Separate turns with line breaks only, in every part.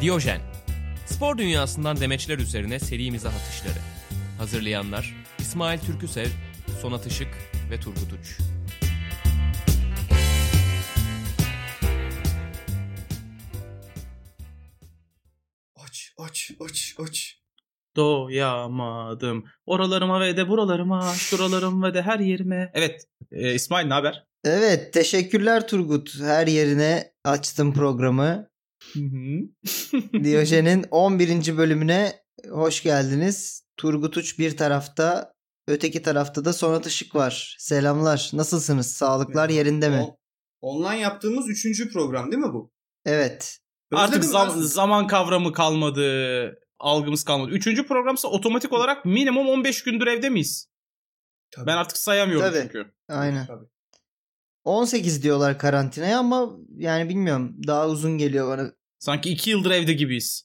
Diyojen. Spor dünyasından demeçler üzerine serimize atışları. Hazırlayanlar İsmail Türküsev, Sonat Işık ve Turgut Uç.
Aç, aç, aç, aç.
Doyamadım. Oralarıma ve de buralarıma, şuralarıma ve de her yerime. Evet. e, İsmail ne haber?
Evet, teşekkürler Turgut. Her yerine açtım programı. Diyojen'in 11. bölümüne hoş geldiniz. Turgut Uç bir tarafta, öteki tarafta da Sonat Işık var. Selamlar. Nasılsınız? Sağlıklar yerinde mi?
O- online yaptığımız üçüncü program değil mi bu?
Evet.
Artık
Özledim
zam-
ben-
zaman kavramı kalmadı. Algımız kalmadı. Üçüncü programsa otomatik olarak minimum 15 gündür evde miyiz?
Tabii.
Ben artık sayamıyorum
Tabii.
çünkü.
Aynen.
Tabii.
18 diyorlar karantinaya ama yani bilmiyorum. Daha uzun geliyor bana.
Sanki iki yıldır evde gibiyiz.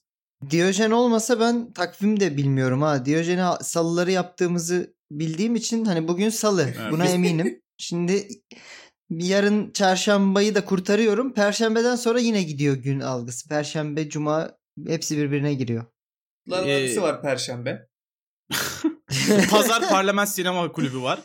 Diyojen olmasa ben takvim de bilmiyorum ha. Diyojen'e salıları yaptığımızı bildiğim için hani bugün salı.
Evet.
Buna eminim. Şimdi bir yarın çarşambayı da kurtarıyorum. Perşembeden sonra yine gidiyor gün algısı. Perşembe, cuma hepsi birbirine giriyor.
Lan
Ee,
hepsi var Perşembe.
Pazar Parlament Sinema Kulübü var.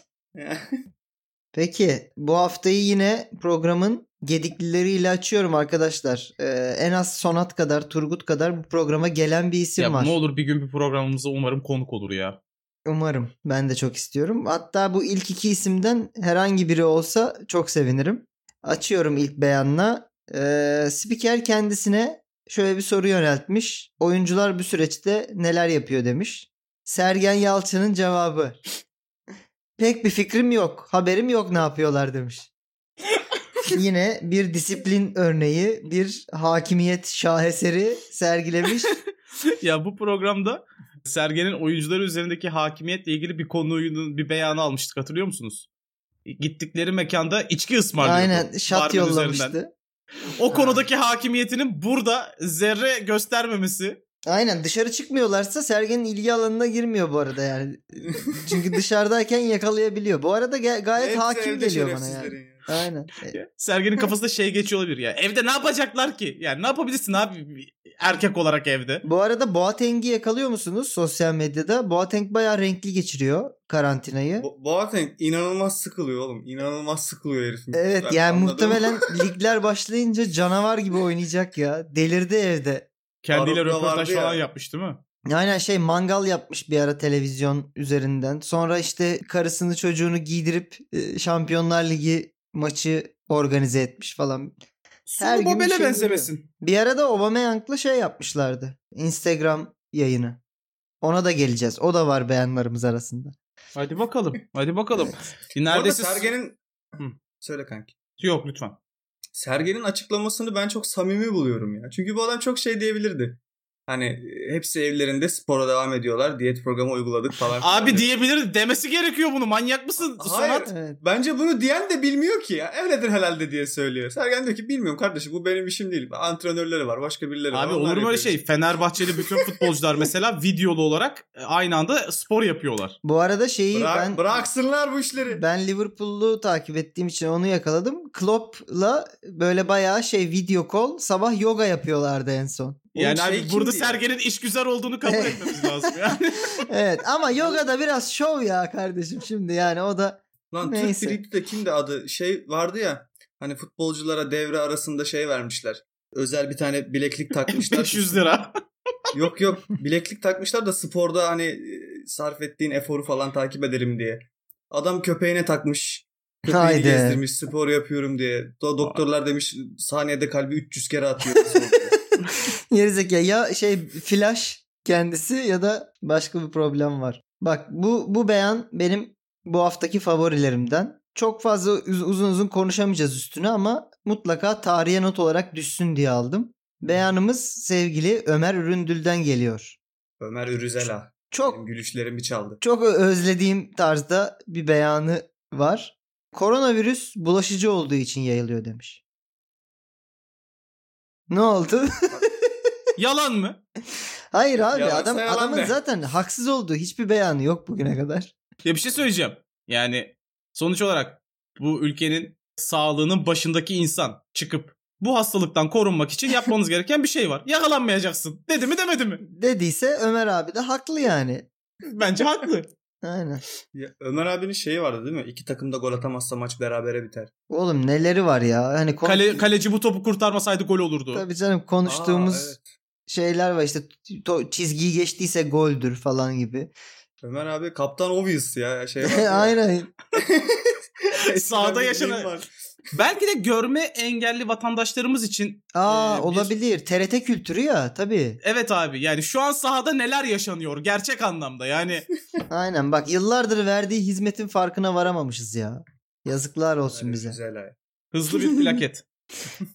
Peki bu haftayı yine programın gediklileriyle açıyorum arkadaşlar. Ee, en az Sonat kadar, Turgut kadar bu programa gelen bir isim
ya
var.
ne olur bir gün bir programımıza umarım konuk olur ya.
Umarım. Ben de çok istiyorum. Hatta bu ilk iki isimden herhangi biri olsa çok sevinirim. Açıyorum ilk beyanla. Ee, spiker kendisine şöyle bir soru yöneltmiş. Oyuncular bu süreçte neler yapıyor demiş. Sergen Yalçın'ın cevabı. Pek bir fikrim yok. Haberim yok ne yapıyorlar demiş. Yine bir disiplin örneği, bir hakimiyet şaheseri sergilemiş.
ya bu programda Sergen'in oyuncuları üzerindeki hakimiyetle ilgili bir konunun bir beyanı almıştık hatırlıyor musunuz? Gittikleri mekanda içki ısmarlıyordu.
Aynen şat
Barmen
yollamıştı.
üzerinden. O konudaki hakimiyetinin burada zerre göstermemesi.
Aynen dışarı çıkmıyorlarsa Sergen'in ilgi alanına girmiyor bu arada yani. Çünkü dışarıdayken yakalayabiliyor. Bu arada ge- gayet
Hepsi
hakim
evde
geliyor bana yani.
şerefsizlerin ya.
Aynen. E,
Sergen'in kafasında şey geçiyor olabilir ya. Evde ne yapacaklar ki? Yani ne yapabilirsin abi bir erkek olarak evde?
Bu arada Boateng'i yakalıyor musunuz sosyal medyada? Boateng bayağı renkli geçiriyor karantinayı.
Bo- Boateng inanılmaz sıkılıyor oğlum. İnanılmaz sıkılıyor herifin.
Evet
Ben
yani
anladım.
muhtemelen ligler başlayınca canavar gibi oynayacak ya. Delirdi evde.
Kendiyle
Arap'ta
röportaj
vardı ya.
falan yapmış değil mi?
Aynen şey mangal yapmış bir ara televizyon üzerinden. Sonra işte karısını çocuğunu giydirip e, Şampiyonlar Ligi maçı organize etmiş falan. Her
Sonu
gün bir
Bobel'e
şey
benzemesin.
Bir arada Aubameyang'la şey yapmışlardı. Instagram yayını. Ona da geleceğiz. O da var beğenlerimiz arasında.
Hadi bakalım. Hadi bakalım.
Bu arada
Neredeyse
Sergen'in...
Hı.
Söyle kanki.
Yok lütfen.
Sergen'in açıklamasını ben çok samimi buluyorum ya. Çünkü bu adam çok şey diyebilirdi. Hani e, hepsi evlerinde spora devam ediyorlar. Diyet programı uyguladık falan.
Abi
filan.
diyebilir demesi gerekiyor bunu. Manyak mısın?
Hayır.
Sonat
Evet.
Bence bunu diyen de bilmiyor ki ya. Öyledir herhalde diye söylüyor. Sergen diyor ki bilmiyorum kardeşim bu benim işim değil. Antrenörleri var başka birileri var.
Abi
Onlar
olur mu
yapıyor
öyle şey? Fenerbahçeli bütün futbolcular mesela videolu olarak e, aynı anda spor yapıyorlar.
Bu arada şeyi
Bırak,
ben
bıraksınlar bu işleri.
ben Liverpool'u takip ettiğim için onu yakaladım. Klopp'la böyle bayağı şey video call sabah yoga yapıyorlardı en son.
Oğlum
yani
şey
abi
kimdi
burada
ya?
Sergen'in işgüzar olduğunu kabul
Evet.
etmemiz lazım yani.
evet ama yoga da biraz şov ya kardeşim şimdi yani o da
Lan
Neyse.
Türk Dirik'te de kimdi adı? Şey vardı ya. Hani futbolculara devre arasında şey vermişler. Özel bir tane bileklik takmışlar.
500 lira.
yok yok. Bileklik takmışlar da sporda hani e, sarf ettiğin eforu falan takip ederim diye. Adam köpeğine takmış. Köpeğini
Haydi.
gezdirmiş spor yapıyorum diye. Do- doktorlar demiş saniyede kalbi 300 kere atıyor.
gerizekalı ya şey flash kendisi ya da başka bir problem var. Bak bu bu beyan benim bu haftaki favorilerimden. Çok fazla uz- uzun uzun konuşamayacağız üstüne ama mutlaka tarihe not olarak düşsün diye aldım. Beyanımız sevgili Ömer Üründül'den geliyor.
Ömer Ürüzela.
Çok
Benim gülüşlerimi çaldı.
çok ö- özlediğim tarzda bir beyanı var. Koronavirüs bulaşıcı olduğu için yayılıyor demiş. Ne oldu?
Yalan mı?
Hayır abi
Yalansa
adam
yalan
adamın
be.
zaten haksız olduğu hiçbir beyanı yok bugüne kadar.
Ya bir şey söyleyeceğim. Yani sonuç olarak bu ülkenin sağlığının başındaki insan çıkıp bu hastalıktan korunmak için yapmanız gereken bir şey var. Yakalanmayacaksın. Dedi mi demedi mi?
Dediyse Ömer abi de haklı yani.
Bence haklı.
Aynen.
Ya, Ömer abinin şeyi vardı değil mi? İki takım da gol atamazsa maç berabere biter.
Oğlum neleri var ya? Hani kon-
Kale, kaleci bu topu kurtarmasaydı gol olurdu.
Tabii canım konuştuğumuz
Aa, evet.
şeyler var işte to- çizgiyi geçtiyse goldür falan gibi.
Ömer abi kaptan obvious ya. Şey var ya.
Aynen.
Eskiden
Sahada
bir
yaşanan-
deyim var.
Belki de görme engelli vatandaşlarımız için
Aa
Ee, bir-
olabilir. TRT kültürü ya tabii.
evet abi yani şu an sahada neler yaşanıyor gerçek anlamda yani
Aynen bak yıllardır verdiği hizmetin farkına varamamışız ya. Yazıklar olsun
Evet,
bize.
Güzel ay.
hızlı bir plaket.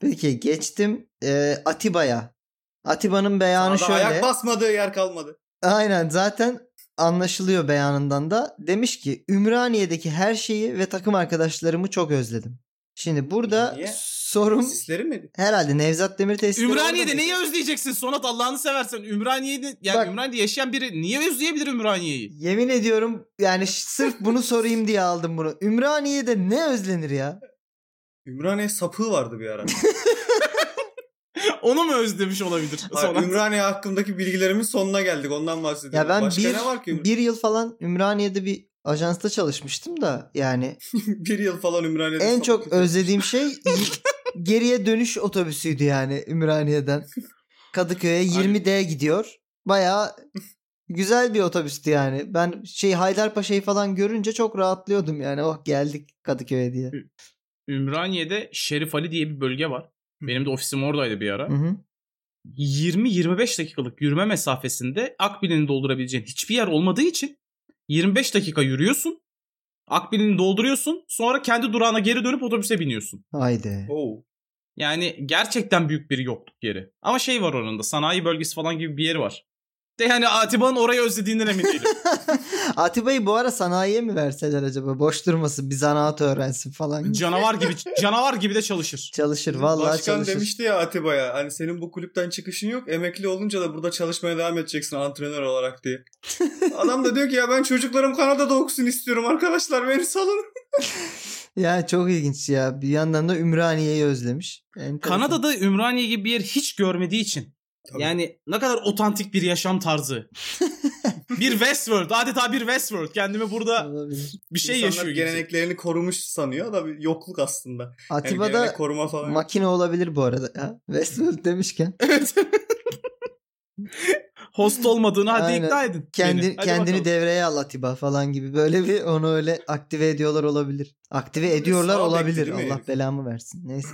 Peki geçtim Ee, Atiba'ya. Atiba'nın beyanı
Sahada
şöyle.
ayak basmadığı yer kalmadı.
Aynen zaten anlaşılıyor beyanından da. Demiş ki Ümraniye'deki her şeyi ve takım arkadaşlarımı çok özledim. Şimdi burada
Niye?
sorum
Sisleri mi?
herhalde Nevzat Demir tesisleri orada
Ümraniye'de
mı?
neyi özleyeceksin Sonat Allah'ını seversen Ümraniye'de yani
Bak-
Ümraniye'de yaşayan biri niye özleyebilir Ümraniye'yi?
Yemin ediyorum yani ş- sırf bunu sorayım diye aldım bunu. Ümraniye'de ne özlenir ya?
Ümraniye sapığı vardı bir ara.
Onu mu özlemiş olabilir
Hayır,
Sonat?
Ümraniye hakkındaki bilgilerimin sonuna geldik. Ondan bahsediyorum.
Ya ben
Başka
bir,
ne var ki? Ümraniye?
bir yıl falan Ümraniye'de bir ajansta çalışmıştım da yani
bir yıl falan Ümraniye'de
en
sapık
çok
kötü.
özlediğim şey geriye dönüş otobüsüydü yani Ümraniye'den. Kadıköy'e 20D gidiyor. Bayağı güzel bir otobüstü yani. Ben şey Haydarpaşa'yı falan görünce çok rahatlıyordum yani. Oh geldik Kadıköy'e diye.
Ümraniye'de Şerif Ali diye bir bölge var. Benim de ofisim oradaydı bir ara.
Hı hı.
20-25 dakikalık yürüme mesafesinde Akbil'ini doldurabileceğin hiçbir yer olmadığı için 25 dakika yürüyorsun. Akbil'ini dolduruyorsun. Sonra kendi durağına geri dönüp otobüse biniyorsun.
Haydi.
Oo.
Yani gerçekten büyük bir yokluk yeri. Ama şey var oranın da sanayi bölgesi falan gibi bir yeri var. De yani Atiba'nın orayı özlediğinden emin değilim.
Atiba'yı bu ara sanayiye mi verseler acaba? Boş durmasın bir zanaat öğrensin falan. gibi.
canavar gibi canavar gibi de çalışır.
çalışır vallahi
Başkan
çalışır.
demişti ya Atiba'ya hani senin bu kulüpten çıkışın yok emekli olunca da burada çalışmaya devam edeceksin antrenör olarak diye. Adam da diyor ki ya ben çocuklarım Kanada'da okusun istiyorum arkadaşlar beni salın.
Ya çok ilginç ya. Bir yandan da Ümraniye'yi özlemiş. Enteresan.
Kanada'da Ümraniye gibi bir yer hiç görmediği için
Tabii.
Yani ne kadar otantik bir yaşam tarzı. bir Westworld. Adeta bir Westworld. Kendimi burada
Olabilir.
bir şey
İnsanlar
yaşıyor. gibi.
geleneklerini korumuş sanıyor da bir yokluk aslında. Yani
Atiba'da
gelenek koruma falan.
makine olabilir bu arada ya. Westworld demişken
Evet. Host olmadığını hadi
Aynen.
ikna edin.
kendi
beni. Hadi
kendini
bakalım.
devreye al Atiba falan gibi böyle bir onu öyle aktive ediyorlar olabilir. Aktive ediyorlar
sağ bekti
olabilir.
değil mi
Allah
herif?
belamı versin. Neyse.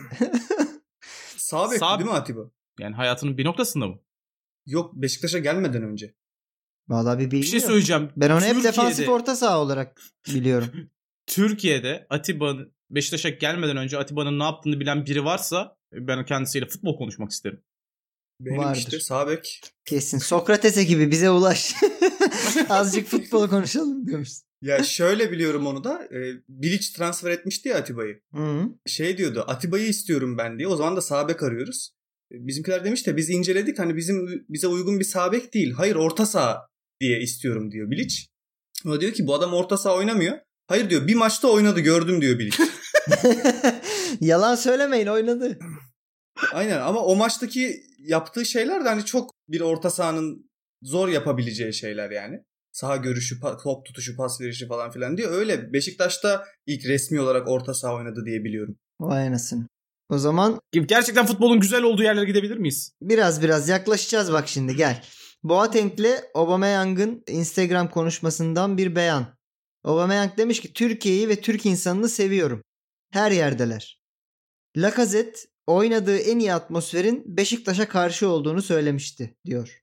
Sağ bek
Sağ-
değil mi Atiba?
Yani hayatının bir noktasında mı?
Yok Beşiktaş'a gelmeden önce.
Vallahi bir
Bir
bilgi
şey
yok.
söyleyeceğim.
Ben onu hep
Türkiye'de-
defansif orta saha olarak biliyorum.
Türkiye'de Atiba'nın Beşiktaş'a gelmeden önce Atiba'nın ne yaptığını bilen biri varsa e, ben kendisiyle futbol konuşmak isterim.
Benim
Vardır.
işte sağ bek.
Kesin. Sokrates'e gibi bize ulaş. Azıcık futbol konuşalım diyormuş.
Ya şöyle biliyorum onu da. E, Bilic transfer etmişti ya Atiba'yı.
Hı.
şey diyordu Atiba'yı istiyorum ben diye. O zaman da sabek arıyoruz. E, Bizimkiler demiş de biz inceledik hani bizim bize uygun bir sabek değil. Hayır orta saha diye istiyorum diyor Bilic. O diyor ki bu adam orta saha oynamıyor. Hayır diyor bir maçta oynadı gördüm diyor Bilic.
Yalan söylemeyin oynadı.
Aynen ama o maçtaki yaptığı şeyler de hani çok bir orta sahanın zor yapabileceği şeyler yani. Saha görüşü, pa- top tutuşu, pas verişi falan filan diye. Öyle Beşiktaş'ta ilk resmi olarak orta saha oynadı diye biliyorum.
Vay anasını. O zaman
Gerçekten futbolun güzel olduğu yerlere gidebilir miyiz?
biraz biraz yaklaşacağız bak şimdi gel. Boateng'le Aubameyang'ın Instagram konuşmasından bir beyan. Aubameyang demiş ki Türkiye'yi ve Türk insanını seviyorum. Her yerdeler. Lacazette oynadığı en iyi atmosferin Beşiktaş'a karşı olduğunu söylemişti diyor.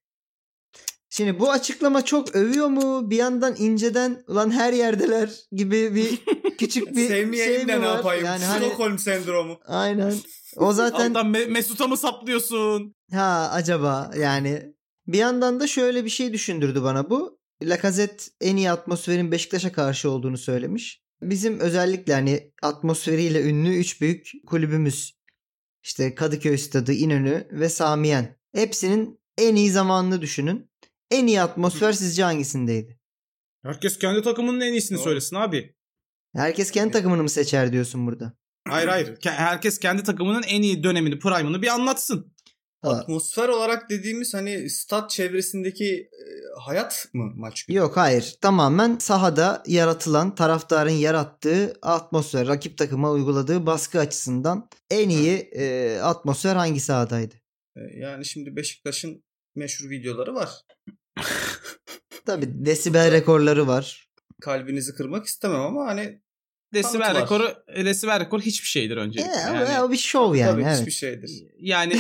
Şimdi bu açıklama çok övüyor mu? Bir yandan inceden ulan her yerdeler gibi bir küçük bir şey
Sevmeyeyim
mi
de ne
var?
yapayım?
Yani hani-
Stockholm sendromu.
aynen. O zaten
Alttan Me- Mesut'a mı saplıyorsun?
Ha acaba yani bir yandan da şöyle bir şey düşündürdü bana bu. Lacazette en iyi atmosferin Beşiktaş'a karşı olduğunu söylemiş. Bizim özellikle hani atmosferiyle ünlü üç büyük kulübümüz işte Kadıköy Stadı, İnönü ve Samiyen. Hepsinin en iyi zamanını düşünün. En iyi atmosfer sizce hangisindeydi?
Herkes kendi takımının en iyisini
Doğru.
söylesin abi.
Herkes kendi takımını mı seçer diyorsun burada?
Hayır hayır. Ke- Herkes kendi takımının en iyi dönemini, prime'ını bir anlatsın.
Ha.
Atmosfer olarak dediğimiz hani stat çevresindeki e, hayat mı maç günü?
Yok hayır. Tamamen sahada yaratılan taraftarın yarattığı atmosfer, rakip takıma uyguladığı baskı açısından en iyi e, atmosfer hangi sahadaydı?
E, Yani şimdi Beşiktaş'ın meşhur videoları var.
Tabii desibel rekorları var.
Kalbinizi kırmak istemem ama hani
Desibel
Kanıt var.
rekoru, desibel rekor e, hiçbir şeydir
E,
öncelikle.
ama
yani.
o bir şov yani.
tabii
evet.
hiçbir şeydir.
Yani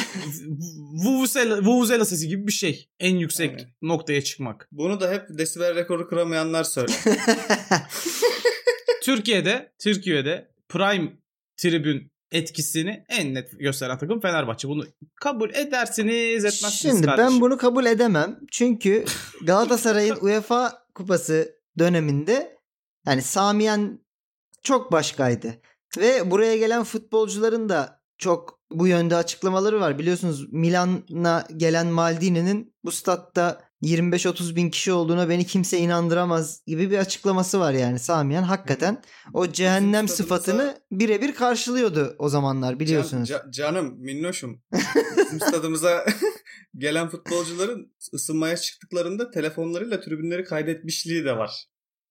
vuvuzela, vuvuzela sesi gibi bir şey. En yüksek
Aynen.
noktaya çıkmak.
Bunu da hep desibel rekoru kıramayanlar söyler.
Türkiye'de, Türkiye'de prime tribün etkisini en net gösteren takım Fenerbahçe. Bunu kabul edersiniz, etmezsiniz
Şimdi
kardeşim.
ben bunu kabul edemem. Çünkü Galatasaray'ın UEFA kupası döneminde yani Samiyen çok başkaydı. Ve buraya gelen futbolcuların da çok bu yönde açıklamaları var. Biliyorsunuz Milan'a gelen Maldini'nin bu statta 25-30 bin kişi olduğuna beni kimse inandıramaz gibi bir açıklaması var yani Samiyen hakikaten o cehennem
Bizim
sıfatını birebir karşılıyordu o zamanlar biliyorsunuz.
Can- ca- canım, minnoşum. Bizim stadımıza gelen futbolcuların ısınmaya çıktıklarında telefonlarıyla tribünleri kaydetmişliği de var.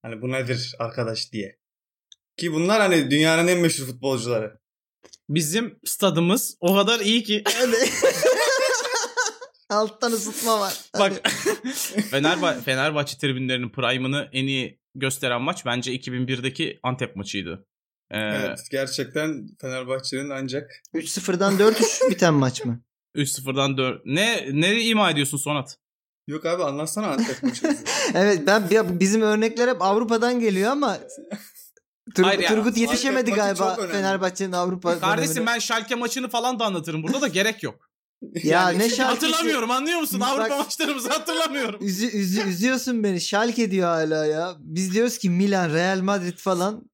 Hani bu nedir arkadaş diye. Ki bunlar hani dünyanın en meşhur futbolcuları.
Bizim stadımız o kadar iyi ki
Alttan ısıtma var.
Bak Fenerba- Fenerbahçe tribünlerinin prime'ını en iyi gösteren maç bence 2001'deki Antep maçıydı. Ee,
Evet, gerçekten Fenerbahçe'nin ancak
3-0'dan 4-3 biten maç mı?
3-0'dan 4. Ne ne ima ediyorsun Sonat?
Yok abi anlatsana Antep maçımızı.
Evet ben ya bizim örnekler hep Avrupa'dan geliyor ama Tur-
Hayır ya,
Turgut yetişemedi
Antep maçı
galiba
çok önemli.
Fenerbahçe'nin Avrupa
Kardeşim
dönemine.
ben Schalke maçını falan da anlatırım. Burada da gerek yok.
ya
Yani
ne
şey-
şarkısı?
Hatırlamıyorum anlıyor musun?
şey- Bak-
Avrupa maçlarımızı hatırlamıyorum.
Üzü, üzü- üzüyorsun beni. Schalke diyor hala ya. Biz diyoruz ki Milan, Real Madrid falan.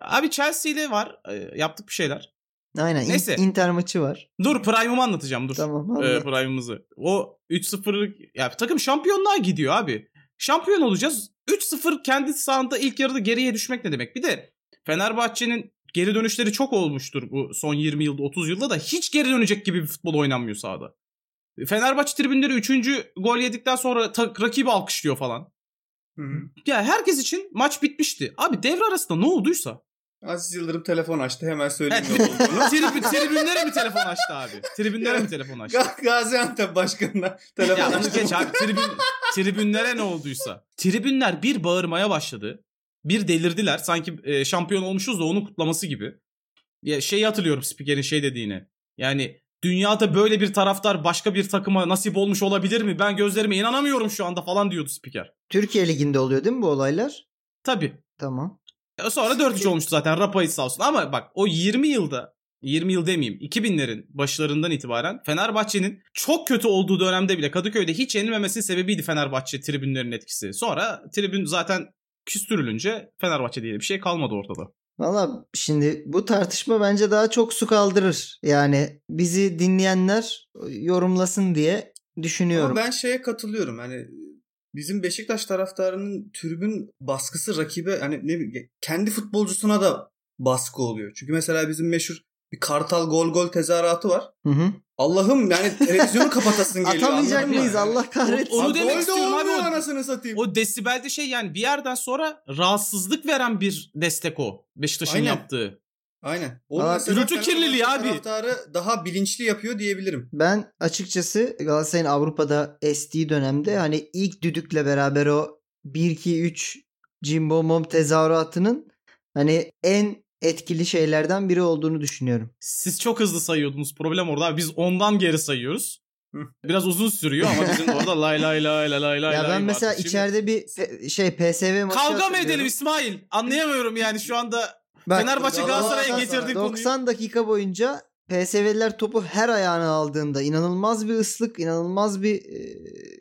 Abi Chelsea ile var. e, yaptık bir şeyler.
Aynen. in-
Neyse.
Inter maçı var.
Dur prime'ımı anlatacağım dur.
Tamam.
e,
anladım.
prime'ımızı. O 3-0'lık ya takım şampiyonluğa gidiyor abi. Şampiyon olacağız. 3-0 kendi sahanda ilk yarıda geriye düşmek ne demek? Bir de Fenerbahçe'nin geri dönüşleri çok olmuştur bu son 20 yılda 30 yılda da hiç geri dönecek gibi bir futbol oynanmıyor sahada. Fenerbahçe tribünleri 3. gol yedikten sonra ta- rakibi alkışlıyor falan. Ya herkes için maç bitmişti. Abi devre arasında ne olduysa.
Aziz Yıldırım telefon açtı hemen söyleyeyim
Evet.
ne olduğunu.
Tribün, tribünlere mi telefon açtı abi? Tribünlere mi telefon açtı?
Ga- Gaziantep başkanına telefon
Ya onu
açtı.
geç abi tribün, tribünlere ne olduysa. Tribünler bir bağırmaya başladı. Bir delirdiler. Sanki e, şampiyon olmuşuz da onun kutlaması gibi. Ya şeyi hatırlıyorum spikerin şey dediğini. Yani dünyada böyle bir taraftar başka bir takıma nasip olmuş olabilir mi? Ben gözlerime inanamıyorum şu anda falan diyordu spiker.
Türkiye Ligi'nde oluyor değil mi bu olaylar?
Tabii.
Tamam.
E, Sonra 4-3 olmuştu zaten Rapa'yı sağ olsun. Ama bak o 20 yılda 20 yıl demeyeyim 2000'lerin başlarından itibaren Fenerbahçe'nin çok kötü olduğu dönemde bile Kadıköy'de hiç yenilmemesinin sebebiydi Fenerbahçe tribünlerinin etkisi. Sonra tribün zaten küstürülünce Fenerbahçe diye bir şey kalmadı ortada.
Valla şimdi bu tartışma bence daha çok su kaldırır. Yani bizi dinleyenler e, yorumlasın diye düşünüyorum.
Ama ben şeye katılıyorum. Hani bizim Beşiktaş taraftarının tribün baskısı rakibe hani ne bileyim kendi futbolcusuna da baskı oluyor. Çünkü mesela bizim meşhur bir kartal gol gol tezahüratı var.
Hı hı.
Allah'ım yani televizyonu kapatasın geliyor.
Atamayacak
anladın mı?
mıyız
Yani.
Allah kahretsin.
Onu
Aa,
demek
gol de
istiyorum abi,
olmuyor
o-
anasını satayım.
O desibelde şey yani bir yerden sonra rahatsızlık veren bir destek o. Beşiktaş'ın
Aynen.
yaptığı.
Aynen. O
Aa,
mesela
gürültü
Fenerbahçe
kirliliği abi.
Taraftarı daha bilinçli yapıyor diyebilirim.
Ben açıkçası Galatasaray'ın Avrupa'da estiği dönemde hani ilk düdükle beraber o 1-2-3 Jimbo Mom tezahüratının hani en etkili şeylerden biri olduğunu düşünüyorum.
Siz çok hızlı sayıyordunuz. Problem orada. abi. Biz ondan geri sayıyoruz.
Hı.
Biraz uzun sürüyor ama bizim orada lay lay lay lay lay lay.
ya ben
vardı.
mesela
Şimdi
içeride bir pe- şey PSV maçı
Kavga mı
hatırlıyorum.
edelim İsmail? Anlayamıyorum yani şu anda E,
Bak,
Fenerbahçe
Galatasaray-
Galatasaray'a getirdik konuyu.
90 dakika boyunca PSV'liler topu her ayağına aldığında inanılmaz bir ıslık, inanılmaz bir e,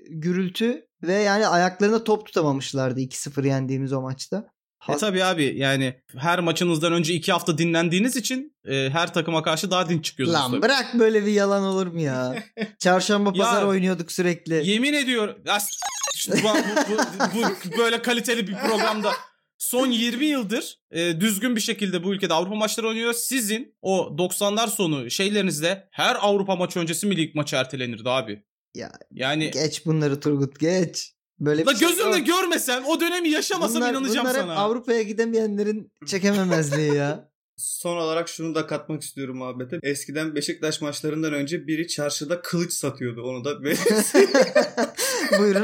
gürültü ve yani ayaklarına top tutamamışlardı 2-0 yendiğimiz o maçta.
E tabi abi yani her maçınızdan önce iki hafta dinlendiğiniz için e, her takıma karşı daha dinç çıkıyorsunuz.
Lan
tabii.
bırak böyle bir yalan olur mu ya? Çarşamba
Ya,
pazar oynuyorduk sürekli.
Yemin ediyorum. Ya s- şu- bu, bu- bu- bu- böyle kaliteli bir programda son 20 yıldır e, düzgün bir şekilde bu ülkede Avrupa maçları oynuyor. Sizin o 90'lar sonu şeylerinizde her Avrupa maçı öncesi mi lig maçı ertelenirdi abi?
Ya,
yani
Geç bunları Turgut geç. Böyle
La
bir şey
gözümle
yok.
görmesem o dönemi yaşamasam
bunlar,
inanacağım
bunlar hep
sana.
Avrupa'ya gidemeyenlerin çekememezliği ya.
Son olarak şunu da katmak istiyorum muhabbete. Eskiden Beşiktaş maçlarından önce biri çarşıda kılıç satıyordu. Onu da
Buyurun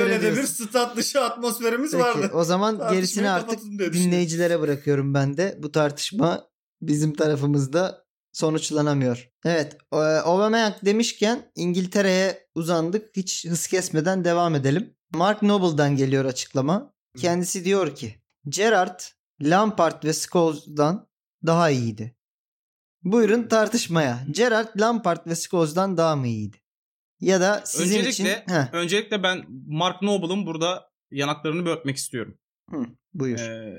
böyle de bir
diyorsun.
stat dışı atmosferimiz
Peki,
vardı.
o zaman
Tartışmayı
gerisini artık
kapatın diye düşünüyorum.
dinleyicilere bırakıyorum ben de. Bu tartışma bizim tarafımızda sonuçlanamıyor. Evet, e, Aubameyang demişken İngiltere'ye uzandık. Hiç hız kesmeden devam edelim. Mark Noble'dan geliyor açıklama. Kendisi diyor ki Gerrard, Lampard ve Scholes'dan daha iyiydi. Buyurun tartışmaya. Gerrard, Lampard ve Scholes'dan daha mı iyiydi? Ya da sizin
Öncelikle-
için... Heh,
Öncelikle ben Mark Noble'ın burada yanaklarını bir öpmek istiyorum.
buyur.
Ee,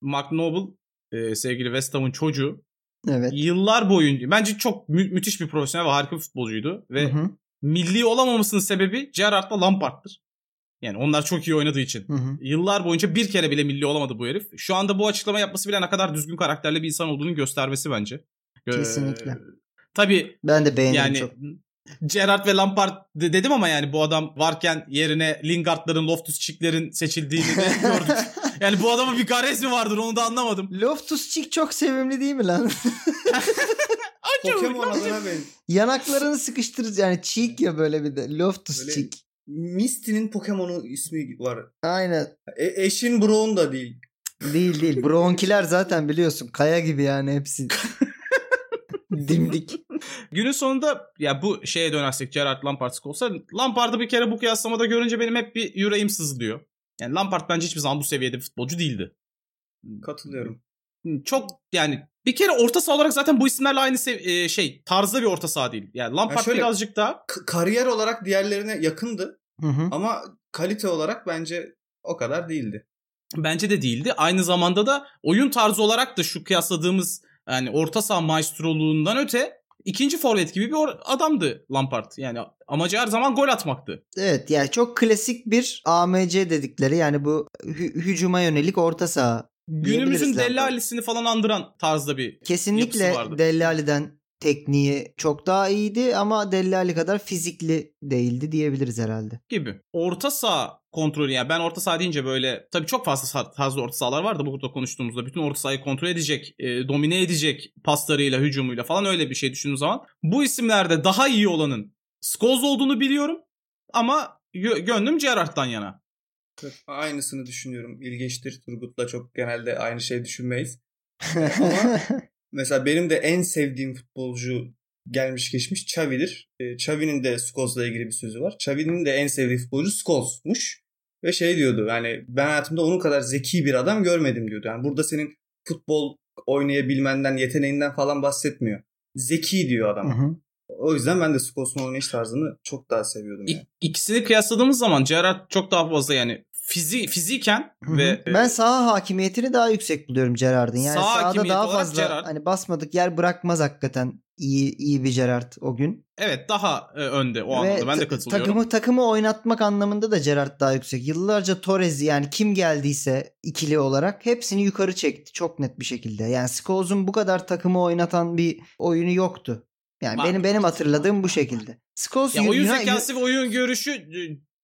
Mark Noble e, sevgili West Ham'ın çocuğu
evet.
yıllar boyunca bence çok mü- müthiş bir profesyonel ve harika bir futbolcuydu ve
Hı hı,
milli olamamasının sebebi Gerrard'la Lampard'tır. Yani onlar çok iyi oynadığı için.
hı hı.
Yıllar boyunca bir kere bile milli olamadı bu herif. Şu anda bu açıklama yapması bile ne kadar düzgün karakterli bir insan olduğunu göstermesi bence. Ee,
Kesinlikle.
Tabii
Ben de beğendim
yani
çok.
Gerrard ve Lampard de- dedim ama yani bu adam varken yerine Lingard'ların, Loftus-Cheek'lerin seçildiğini de gördük. Yani bu adamın bir gares mi vardır onu da anlamadım.
Loftus Cheek çok sevimli değil mi lan?
Pokemon adına ben.
Yanaklarını sıkıştırır yani Cheek ya böyle bir de Loftus
Böyle-
Cheek.
Misty'nin Pokemon'u ismi var.
Aynen.
E, eşin Brown da değil.
Değil değil. Bronkiler zaten biliyorsun kaya gibi yani hepsi. Dimdik.
Günün sonunda ya bu şeye dönersek Gerrard Lampard olsa Lampard'ı bir kere bu kıyaslamada görünce benim hep bir yüreğim sızlıyor. Yani Lampard bence hiçbir zaman bu seviyede bir futbolcu değildi.
Katılıyorum.
Çok yani bir kere orta saha olarak zaten bu isimlerle aynı sev- e, şey tarzda bir orta saha değil. Yani Lampard
şöyle-
birazcık daha
K- kariyer olarak diğerlerine yakındı
Hı hı.
ama kalite olarak bence o kadar değildi.
Bence de değildi. Aynı zamanda da oyun tarzı olarak da şu kıyasladığımız yani orta saha maestroluğundan öte ikinci forvet gibi bir or- adamdı Lampard. Yani amacı her zaman gol atmaktı.
Evet yani çok klasik bir AMC dedikleri yani bu hü- hücuma yönelik orta saha.
Günümüzün
Diyebiliriz Lampard.
dellalesini falan andıran tarzda bir
Kesinlikle
Yapısı vardı.
Dellali'den tekniği çok daha iyiydi ama Dellali kadar fizikli değildi diyebiliriz herhalde.
gibi. Orta saha kontrolü yani ben orta saha deyince böyle tabii çok fazla sa- tarzda orta sahalar var da burada konuştuğumuzda bütün orta sahayı kontrol edecek, e, domine edecek paslarıyla, hücumuyla falan öyle bir şey düşündüğüm zaman bu isimlerde daha iyi olanın Scholes olduğunu biliyorum ama gö- gönlüm Gerrard'dan yana.
Aynısını düşünüyorum. İlginçtir. Turgut'la çok genelde aynı şey düşünmeyiz. Mesela benim de en sevdiğim futbolcu gelmiş geçmiş Xavi'dir. E, Xavi'nin de Scholes'la ilgili bir sözü var. Xavi'nin de en sevdiği futbolcu Scholes'muş. Ve şey diyordu yani ben hayatımda onun kadar zeki bir adam görmedim diyordu. Yani burada senin futbol oynayabilmenden, yeteneğinden falan bahsetmiyor. Zeki diyor
Hı
adam.
hı.
O yüzden ben de Scholes'un oynayış tarzını çok daha seviyordum.
İ-
Yani.
İkisini kıyasladığımız zaman Gerrard çok daha fazla yani fizi fiziken
Hı hı.
ve e,
ben saha hakimiyetini daha yüksek buluyorum Gerard'ın. Yani
Saha
sahada
hakimiyeti
daha
olarak
fazla
Gerrard.
hani basmadık yer bırakmaz hakikaten iyi iyi bir Gerard o gün.
evet daha e, önde o
Ve
anlamda ben de
ta-
katılıyorum.
Takımı takımı oynatmak anlamında da Gerard daha yüksek. Yıllarca Torres yani kim geldiyse ikili olarak hepsini yukarı çekti çok net bir şekilde. Yani Scholes'un bu kadar takımı oynatan bir oyunu yoktu. Yani
Var,
benim benim
var,
hatırladığım
var,
bu
var,
şekilde. Scholes
Ya
Yu-
oyun
Yunan-
zekası ve oyun görüşü e,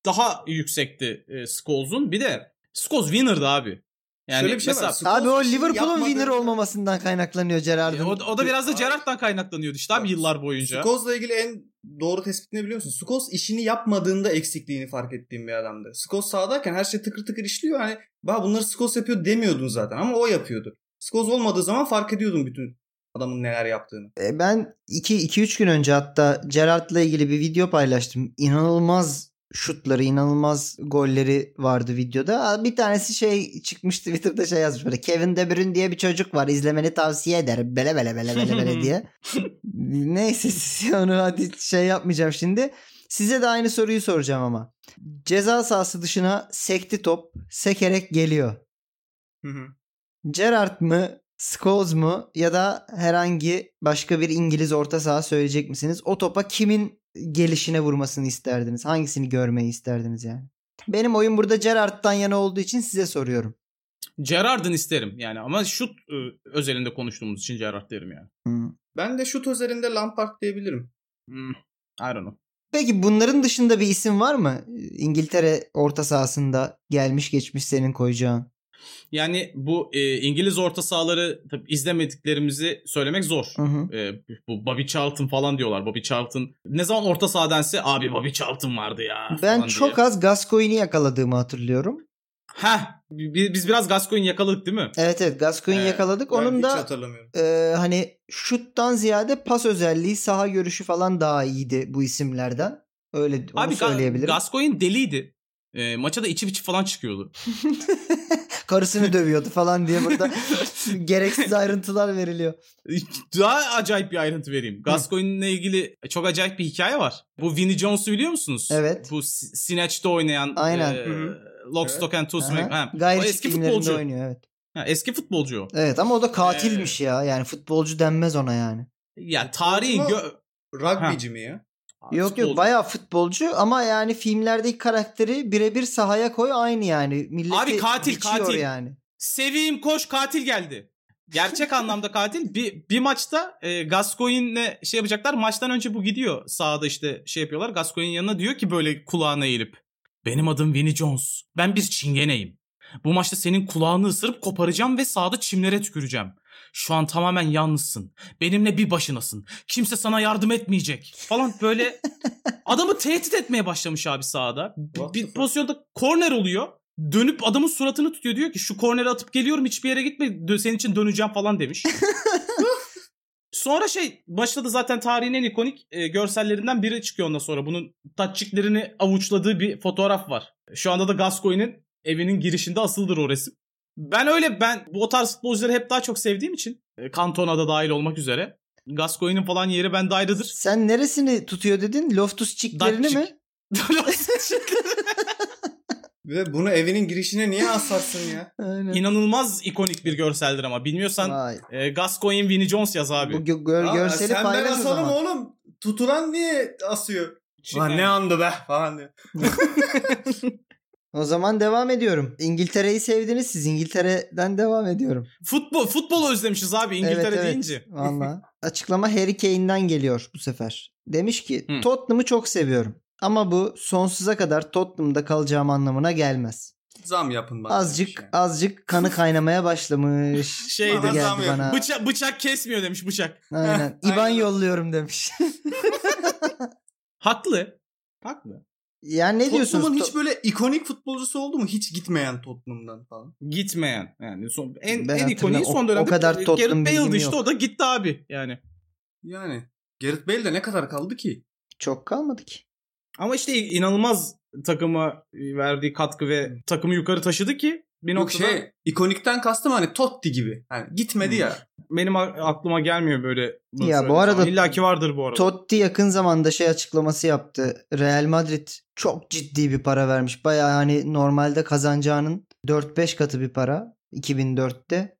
daha yüksekti e, Scholes'un. Bir de Scholes winner'dı abi. Yani
Şöyle bir şey var,
mesela
Scholes
Abi o
bir şey
Liverpool'un winner
yapmadı.
olmamasından kaynaklanıyor Gerard'ın.
e, o, da- o da biraz da
Abi-
Gerrard'dan kaynaklanıyordu işte abi
Bak,
yıllar boyunca.
Scholes'la ilgili en doğru tespit ne biliyor musun? Scholes işini yapmadığında eksikliğini fark ettiğim bir adamdı. Scholes sahadayken her şey tıkır tıkır işliyor. Hani bah bunları Scholes yapıyor demiyordun zaten ama o yapıyordu. Scholes olmadığı zaman fark ediyordun bütün adamın neler yaptığını.
E, Ben 2-3 gün önce hatta Gerard'la ilgili bir video paylaştım. İnanılmaz şutları, inanılmaz golleri vardı videoda. Aa, Bir tanesi şey çıkmıştı Twitter'da şey yazmış böyle. Kevin De Bruyne diye bir çocuk var. izlemeni tavsiye ederim. Bele bele bele bele bele diye. Neyse siz onu hadi şey yapmayacağım şimdi. Size de aynı soruyu soracağım ama. Ceza sahası dışına sekti top sekerek geliyor. Gerrard mı, Scholes mu ya da herhangi başka bir İngiliz orta saha söyleyecek misiniz? O topa kimin gelişine vurmasını isterdiniz? Hangisini görmeyi isterdiniz yani? Benim oyun burada Gerrard'dan yana olduğu için size soruyorum.
Gerard'ın isterim yani ama şut e, özelinde konuştuğumuz için Gerard derim yani.
Hı.
Ben de şut üzerinde Lampard diyebilirim.
Hmm. I don't know.
Peki bunların dışında bir isim var mı? İngiltere orta sahasında gelmiş geçmiş senin koyacağın.
Yani bu e, İngiliz orta sahaları tabii izlemediklerimizi söylemek zor.
Hı hı.
E, bu Bobby Charlton falan diyorlar. Bobby Charlton ne zaman orta sahadense abi Bobby Charlton vardı ya.
Ben
falan
çok
diye.
az Gascoigne'i yakaladığımı hatırlıyorum.
Heh, bi- biz biraz Gascoigne yakaladık değil mi?
Evet evet Gascoigne'i
Ee,
yakaladık.
Ben
Onun
hiç
da
hatırlamıyorum.
e, hani şuttan ziyade pas özelliği, saha görüşü falan daha iyiydi bu isimlerden. Öyle onu
abi Ga-
söyleyebilirim.
Gascoigne deliydi. E, maça da içi biçi falan çıkıyordu.
Karısını dövüyordu falan diye burada gereksiz ayrıntılar veriliyor.
Daha acayip bir ayrıntı vereyim. Gascoigne'le ilgili çok acayip bir hikaye var. Bu Vinnie Jones'u biliyor musunuz?
Evet.
Bu S- Snatch'te oynayan
Aynen.
e,
Hı hı.
Lock, Stock and Two Smoke.
Aha.
Ha,
Gayri
o
eski
eski futbolcu.
oynuyor evet.
Ha, eski futbolcu o.
Evet ama o da katilmiş ya. Yani futbolcu denmez ona yani.
Ya tarihin
Futbolcu
gö-
Rugbyci mi ya?
E, Yok
Futbolcu.
yok bayağı futbolcu ama yani filmlerdeki karakteri birebir sahaya koy aynı yani. Milleti
Abi katil,
biçiyor
katil.
yani.
Seveyim koş katil geldi. Gerçek anlamda katil. Bir, bir maçta e, Gascoigne'le şey yapacaklar. Maçtan önce bu gidiyor. Sağda işte şey yapıyorlar. Gascoigne'in yanına diyor ki böyle kulağına eğilip. Benim adım Vinnie Jones. Ben bir çingeneyim. Bu maçta senin kulağını ısırıp koparacağım ve sağda çimlere tüküreceğim. Şu an tamamen yalnızsın. Benimle bir başınasın. Kimse sana yardım etmeyecek. Falan böyle adamı tehdit etmeye başlamış abi sahada.
What the
Bir
fuck?
pozisyonda korner oluyor. Dönüp adamın suratını tutuyor. Diyor ki şu korneri atıp geliyorum hiçbir yere gitme. Dö- Senin için döneceğim falan demiş. sonra şey başladı zaten tarihin en ikonik e, görsellerinden biri çıkıyor ondan sonra. Bunun tatçiklerini avuçladığı bir fotoğraf var. Şu anda da Gascoigne'in evinin girişinde asıldır o resim. Ben öyle ben bu o tarz futbolcuları hep daha çok sevdiğim için e, Cantona da dahil olmak üzere. Gascoigne'in falan yeri bende ayrıdır.
Sen neresini tutuyor dedin? Loftus çiklerini
Datçik.
mi?
Ve bunu evinin girişine niye asarsın ya?
Aynen.
İnanılmaz ikonik bir görseldir ama bilmiyorsan
Vay.
e, Gascoigne Vinnie Jones yaz abi.
Bu gö- gör-
Aa,
görseli
sen ben
paylaş o
asalım
zaman.
oğlum. Tutulan niye asıyor? Lan ne andı be falan diyor.
O zaman devam ediyorum. İngiltere'yi sevdiniz siz. İngiltere'den devam ediyorum.
Futbol futbol özlemişiz abi İngiltere
Evet, evet.
deyince.
Valla. Açıklama Harry Kane'den geliyor bu sefer. Demiş ki
Hı.
Tottenham'ı çok seviyorum. Ama bu sonsuza kadar Tottenham'da kalacağım anlamına gelmiş.
Zam yapın bana.
Azıcık
demiş
azıcık kanı kaynamaya başlamış.
Şey
Bana
Geldi
demiş.
zam yapın.
bana.
Bıça- bıçak kesmiyor demiş bıçak.
Aynen.
Aynen.
İban yolluyorum demiş.
Haklı. Haklı.
yani ne
Tottenham'ın
diyorsunuz?
hiç böyle ikonik futbolcusu oldu mu? Hiç gitmeyen Tottenham'dan falan.
Gitmeyen. Yani son, en,
Ben
en ikoniği
hatırlamıyorum. O-
son dönemde.
o kadar
Gareth
Tottenham
Bale'di
bilgim
işte
yok.
o da gitti abi yani.
Yani Gareth Bale de ne kadar kaldı ki?
Çok kalmadı ki.
Ama işte inanılmaz takıma verdiği katkı ve takımı yukarı taşıdı ki bir
Yok
noktada Hmm.
şey ikonikten kastım hani Totti gibi. Yani gitmedi ya.
benim a- aklıma gelmiyor böyle. bunu
Ya bu
söylediğim
arada-
zaman. İlla ki vardır bu arada.
Totti yakın zamanda şey açıklaması yaptı. Real Madrid çok ciddi bir para vermiş. Bayağı hani normalde kazanacağının 4-5 katı bir para 2004'te.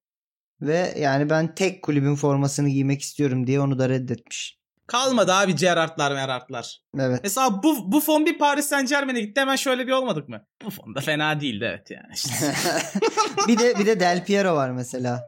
Ve yani ben tek kulübün formasını giymek istiyorum diye onu da reddetmiş.
Kalmadı abi Gerrard'lar Merard'lar.
Evet.
Mesela bu Buffon bir Paris Saint Germain'e gitti hemen şöyle bir olmadık mı? Buffon da fena değildi evet yani. işte.
bir de bir de Del Piero var mesela.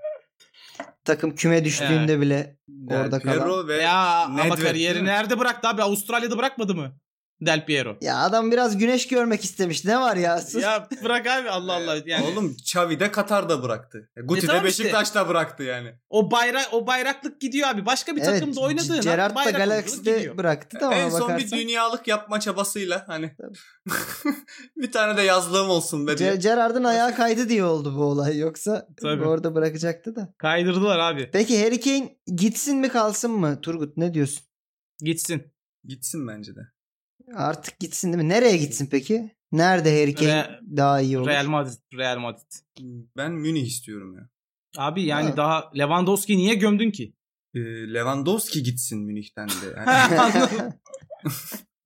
Takım küme düştüğünde bile Orada
Del Piero ve
ya ama
Nedved, değil
kariyeri
mi?
nerede bıraktı abi? Avustralya'da bırakmadı mı? Del Piero.
ya adam biraz güneş görmek istemiş. Ne var ya? Sus.
ya bırak abi Allah Allah yani.
Ee, e, Oğlum Xavi de Katar'da bıraktı. E, Guti
E,
de
tamam işte.
Beşiktaş'ta bıraktı yani.
O bayrak o bayraklık gidiyor abi. Başka bir takımda oynadığına
Gerard da
bayraklık gidiyor.
Galaxy'de bıraktı da ona
en son bir
bakarsan.
dünyalık yapma çabasıyla hani
Tabii.
bir tane de yazlığım olsun be. diye.
Ce- Gerard'ın ayağı kaydı diye oldu bu olay. Yoksa
Tabii.
orada bırakacaktı da.
Kaydırdılar abi.
Peki Harry Kane gitsin mi kalsın mı Turgut ne diyorsun?
Gitsin.
Gitsin bence de.
Artık gitsin değil mi? Nereye gitsin peki? Nerede Harry Kane
Re-
daha iyi olur?
Real Madrid, Real Madrid.
Ben Münih istiyorum ya.
Abi yani
Ha.
daha Lewandowski'yi niye gömdün ki?
Ee, Lewandowski gitsin Münih'ten de. Hani, Yani,
Anladım.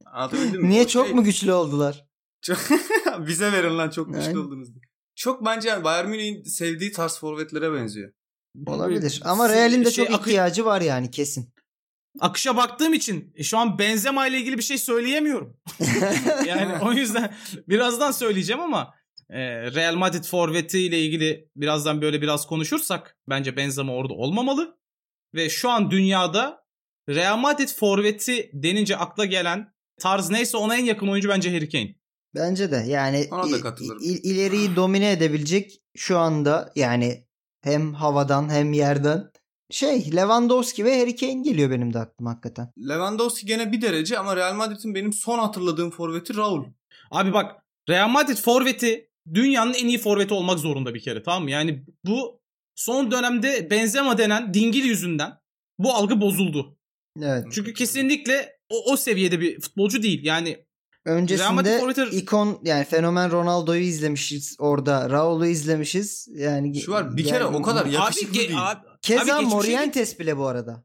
anlatabildim mi?
Niye
O
çok
şey-
mu güçlü oldular?
Bize verin lan çok güçlü
Aynen.
oldunuz diye. Çok bence yani Bayern Münih'in sevdiği tarz forvetlere benziyor.
Olabilir. Ama
Şey-
Real'in de
şey,
çok
akış-
ihtiyacı var yani kesin.
akışa baktığım için e, şu an Benzema ile ilgili bir şey söyleyemiyorum. Yani o yüzden birazdan söyleyeceğim ama Ee, Real Madrid forveti ile ilgili birazdan böyle biraz konuşursak bence Benzema orada olmamalı. Ve şu an dünyada Real Madrid forveti denince akla gelen tarz neyse ona en yakın oyuncu bence Harry Kane.
Bence de yani
Ona da
il-
katılırım.
il- ileriyi domine edebilecek şu anda yani hem havadan hem yerden şey Lewandowski ve Harry Kane geliyor benim de aklıma hakikaten.
Lewandowski gene bir derece ama Real Madrid'in benim son hatırladığım forveti Raul.
Abi bak Real Madrid forveti dünyanın en iyi forveti olmak zorunda bir kere tamam mı? Yani bu son dönemde Benzema denen dingil yüzünden bu algı bozuldu.
Evet.
Çünkü kesinlikle o, o seviyede bir futbolcu değil. Yani Real Madrid
Öncesinde
forveti-
ikon yani fenomen Ronaldo'yu izlemişiz orada. Raul'u izlemişiz. Yani
Şu var bir kere
yani-
o kadar yakışıklı
ge-
değil.
abi- abi
Keza
geçmişe
şey
Morientes bile bu arada.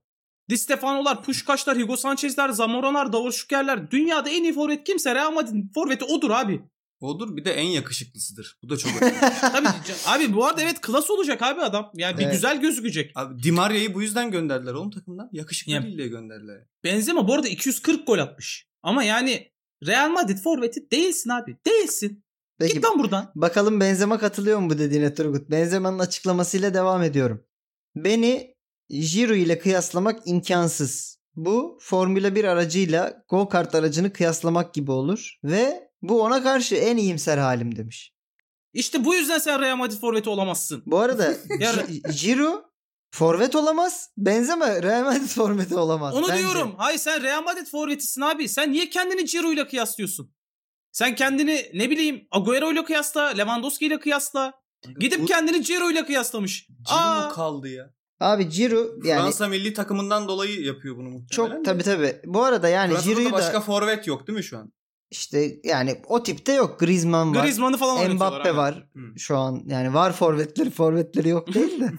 Di Stefano'lar, Puşkaşlar, Hugo Sanchez'ler, Zamoranar, Davuşuker'ler dünyada en iyi forvet kimse Real Madrid forveti odur abi.
Odur bir de en yakışıklısıdır. Bu da çok önemli.
Tabii can- abi bu arada evet klas olacak abi adam. Yani bir
Evet.
güzel gözükecek.
Abi Di Maria'yı bu yüzden gönderdiler oğlum takımdan. Yakışıklı
Ya.
değil diye gönderdiler.
Benzema bu arada 240 gol atmış. Ama yani Real Madrid forveti değilsin abi. Değilsin.
Peki
Git lan buradan.
bakalım Benzema katılıyor mu bu dediğine Turgut. Benzema'nın açıklamasıyla devam ediyorum. Beni Giro ile kıyaslamak imkansız. Bu Formula 1 aracıyla go kart aracını kıyaslamak gibi olur ve bu ona karşı en iyimser halim demiş.
İşte bu yüzden sen Real Madrid forveti olamazsın.
Bu arada
Ya-
Gi- Giro forvet olamaz. Benzema Real Madrid forveti olamaz.
Onu
bence.
diyorum. Hayır sen Real Madrid forvetisin abi. Sen niye kendini Ciro ile kıyaslıyorsun? Sen kendini ne bileyim Agüero ile kıyasla, Lewandowski ile kıyasla. Gidip
Bu-
kendini Ciro ile kıyaslamış.
Ciro
Aa,
kaldı ya.
Abi Giro yani
Fransa milli takımından dolayı yapıyor bunu muhtemelen.
çok
de.
tabi tabi. Bu arada yani
Fransa'da
Giro'yu
da başka
da
forvet yok değil mi şu an?
işte yani o tipte yok. Griezmann var.
Griezmann'ı falan oynatıyorlar
Mbappe
abi.
var
Hı.
şu an. Yani var forvetleri forvetleri yok değil de.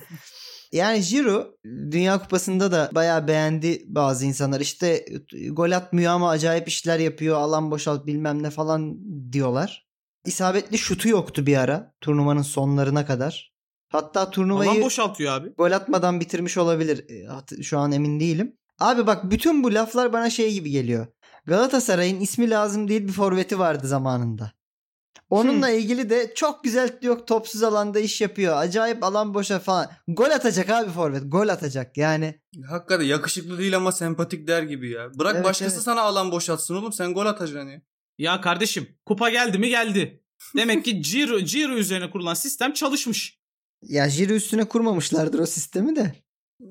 yani Giroud Dünya Kupası'nda da bayağı beğendi bazı insanlar. İşte gol atmıyor ama acayip işler yapıyor. Alan boşalt bilmem ne falan diyorlar. İsabetli şutu yoktu bir ara turnuvanın sonlarına kadar. Hatta turnuvayı
Alan boşaltıyor abi.
gol atmadan bitirmiş olabilir. E, hat- Şu an emin değilim. Abi bak bütün bu laflar bana şey gibi geliyor. Galatasaray'ın ismi lazım değil bir forveti vardı zamanında. Onunla
Hmm.
ilgili de çok güzel yok topsuz alanda iş yapıyor. Acayip alan boşa falan. Gol atacak abi forvet. Gol atacak yani.
Hakikaten yakışıklı değil ama sempatik der gibi ya. Bırak
Evet,
başkası
evet.
sana alan boşaltsın oğlum sen gol atacaksın ya.
Ya kardeşim kupa geldi mi geldi. Demek ki Ciro, Ciro üzerine kurulan sistem çalışmış.
Ya jiri üstüne kurmamışlardır o sistemi de.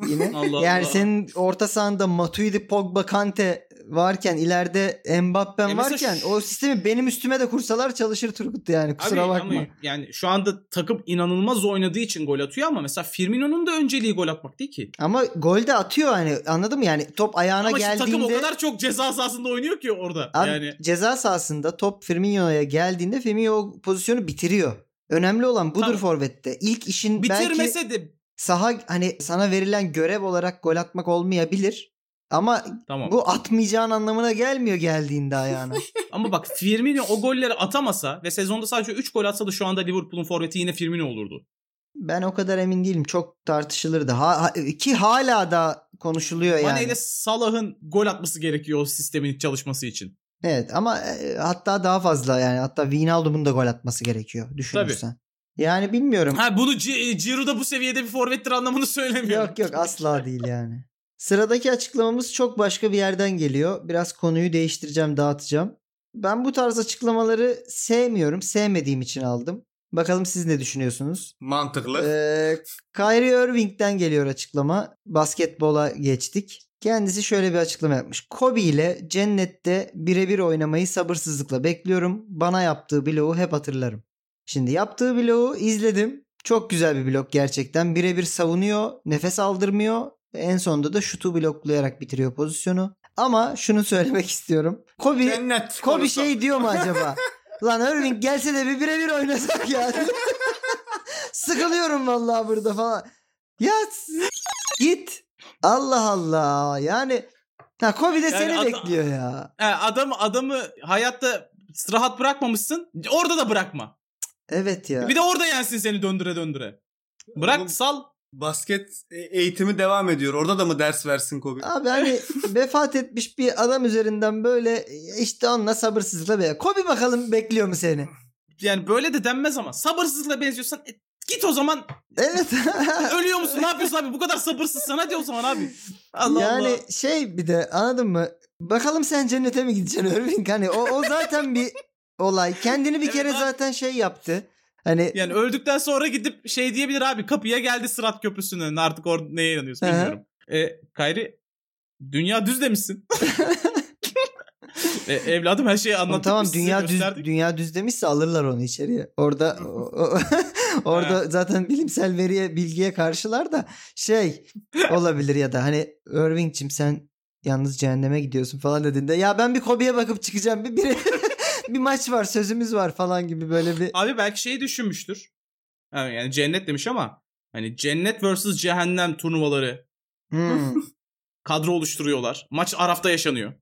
Yine.
Allah
yani
Allah.
senin orta sahanda Matuidi, Pogba, Kante varken ileride Mbappen
E mesela
varken
şu-
o sistemi benim üstüme de kursalar çalışır Turgut yani kusura
Abi
bakma.
ama yani şu anda takım inanılmaz oynadığı için gol atıyor ama mesela Firmino'nun da önceliği gol atmak değil ki.
Ama gol de atıyor hani anladın mı? Yani top ayağına
Ama işte
geldiğinde
takım o kadar çok ceza sahasında oynuyor ki orada.
Abi
yani
ceza sahasında top Firmino'ya geldiğinde Firmino o pozisyonu bitiriyor. Önemli olan budur
Tabii.
forvette. İlk işin belki
bitirmese de
saha hani sana verilen görev olarak gol atmak olmayabilir. Ama
tamam.
bu atmayacağın anlamına gelmiyor geldiğinde ayağına.
Ama bak Firmino o golleri atamasa ve sezonda sadece 3 gol atsa da şu anda Liverpool'un forveti yine Firmino olurdu.
ben o kadar emin değilim. Çok tartışılırdı. Ha, ha- ki hala da konuşuluyor
Mane
yani.
ile Salah'ın gol atması gerekiyor o sistemin çalışması için.
Evet ama e, hatta daha fazla yani hatta Wijnaldum'un da gol atması gerekiyor düşünürsen. Yani bilmiyorum.
Ha bunu C- Ciro da bu seviyede bir forvettir anlamını söylemiyorum.
Yok yok asla değil yani. Sıradaki açıklamamız çok başka bir yerden geliyor. Biraz konuyu değiştireceğim, dağıtacağım. Ben bu tarz açıklamaları sevmiyorum. Sevmediğim için aldım. Bakalım siz ne düşünüyorsunuz?
Mantıklı.
Ee, Kyrie Irving'den geliyor açıklama. Basketbola geçtik. Kendisi şöyle bir açıklama yapmış. Kobe ile cennette birebir oynamayı sabırsızlıkla bekliyorum. Bana yaptığı bloğu hep hatırlarım. Şimdi yaptığı bloğu izledim. Çok güzel bir blok gerçekten. Birebir savunuyor, nefes aldırmıyor. En sonunda da şutu bloklayarak bitiriyor pozisyonu. Ama şunu söylemek istiyorum. Kobe
Cennet.
Kobe
orası.
şey diyor mu acaba? Lan Irving gelse de bir birebir oynasak ya. Sıkılıyorum vallahi burada falan. Ya s- git. Allah Allah. Yani ha Kobe de
Yani
seni
adam-
bekliyor ya.
Ha, adamı adamı hayatta rahat bırakmamışsın. Orada da bırakma.
Evet ya.
Bir de orada yensin seni döndüre döndüre. Bırak
Oğlum-
sal.
Basket e- eğitimi devam ediyor. Orada da mı ders versin Kobe?
Abi hani vefat etmiş bir adam üzerinden böyle işte onunla sabırsızlıkla be. Kobe bakalım bekliyor mu seni?
yani böyle de denmez ama sabırsızlıkla benziyorsan e, git o zaman
Evet.
ölüyor musun ne yapıyorsun abi bu kadar sabırsızsan hadi o zaman abi. Allah
yani
Allah.
şey bir de anladın mı? Bakalım sen cennete mi gideceksin Irving? Hani o, o zaten bir olay. Kendini bir
Evet
kere
abi.
zaten şey yaptı. Hani
Yani öldükten sonra gidip şey diyebilir abi kapıya geldi Sırat Köprüsü'nün önüne artık orada neye inanıyorsun
Hı hı.
bilmiyorum. E, Kayri dünya düz demişsin. e, evladım her şeyi
Oğlum
anlattık.
tamam
biz size
dünya düz
gösterdik.
dünya düz demişse alırlar onu içeriye. Orada o- o- orada zaten bilimsel veriye bilgiye karşılar da şey olabilir ya da hani Irving'cim sen yalnız cehenneme gidiyorsun falan dediğinde ya ben bir Kobe'ye bakıp çıkacağım bir bir, bir maç var sözümüz var falan gibi böyle bir
Abi belki şeyi düşünmüştür. Yani, yani cennet demiş ama hani cennet vs cehennem turnuvaları
Hmm,
kadro oluşturuyorlar. Maç Araf'ta yaşanıyor.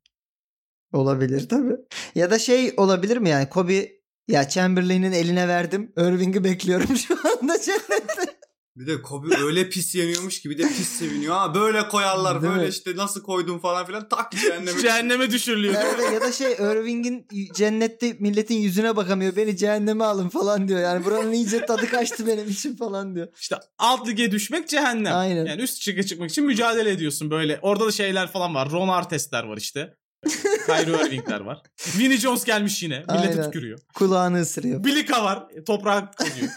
olabilir tabii. Ya da şey olabilir mi yani Kobe ya Chamberlain'in eline verdim. Irving'i bekliyorum şu anda cennette.
Bir de Kobe öyle pis yemiyormuş ki bir de pis seviniyor. Ha böyle koyarlar
Değil
böyle
mi?
işte nasıl koydun falan filan tak cehenneme.
Cehenneme düşürülüyor.
Evet, ya da şey Irving'in cennette milletin yüzüne bakamıyor. Beni cehenneme alın falan diyor. Yani buranın iyice tadı kaçtı benim için falan diyor.
İşte alt lige düşmek cehennem.
Aynen.
Yani üst lige çıkmak için mücadele ediyorsun böyle. Orada da şeyler falan var. Ron Artest'ler var işte. Kyrie Irving'ler var. Vinnie Jones gelmiş yine. Millete
Aynen.
tükürüyor.
Kulağını ısırıyor.
Bilika var. Toprağa koyuyor.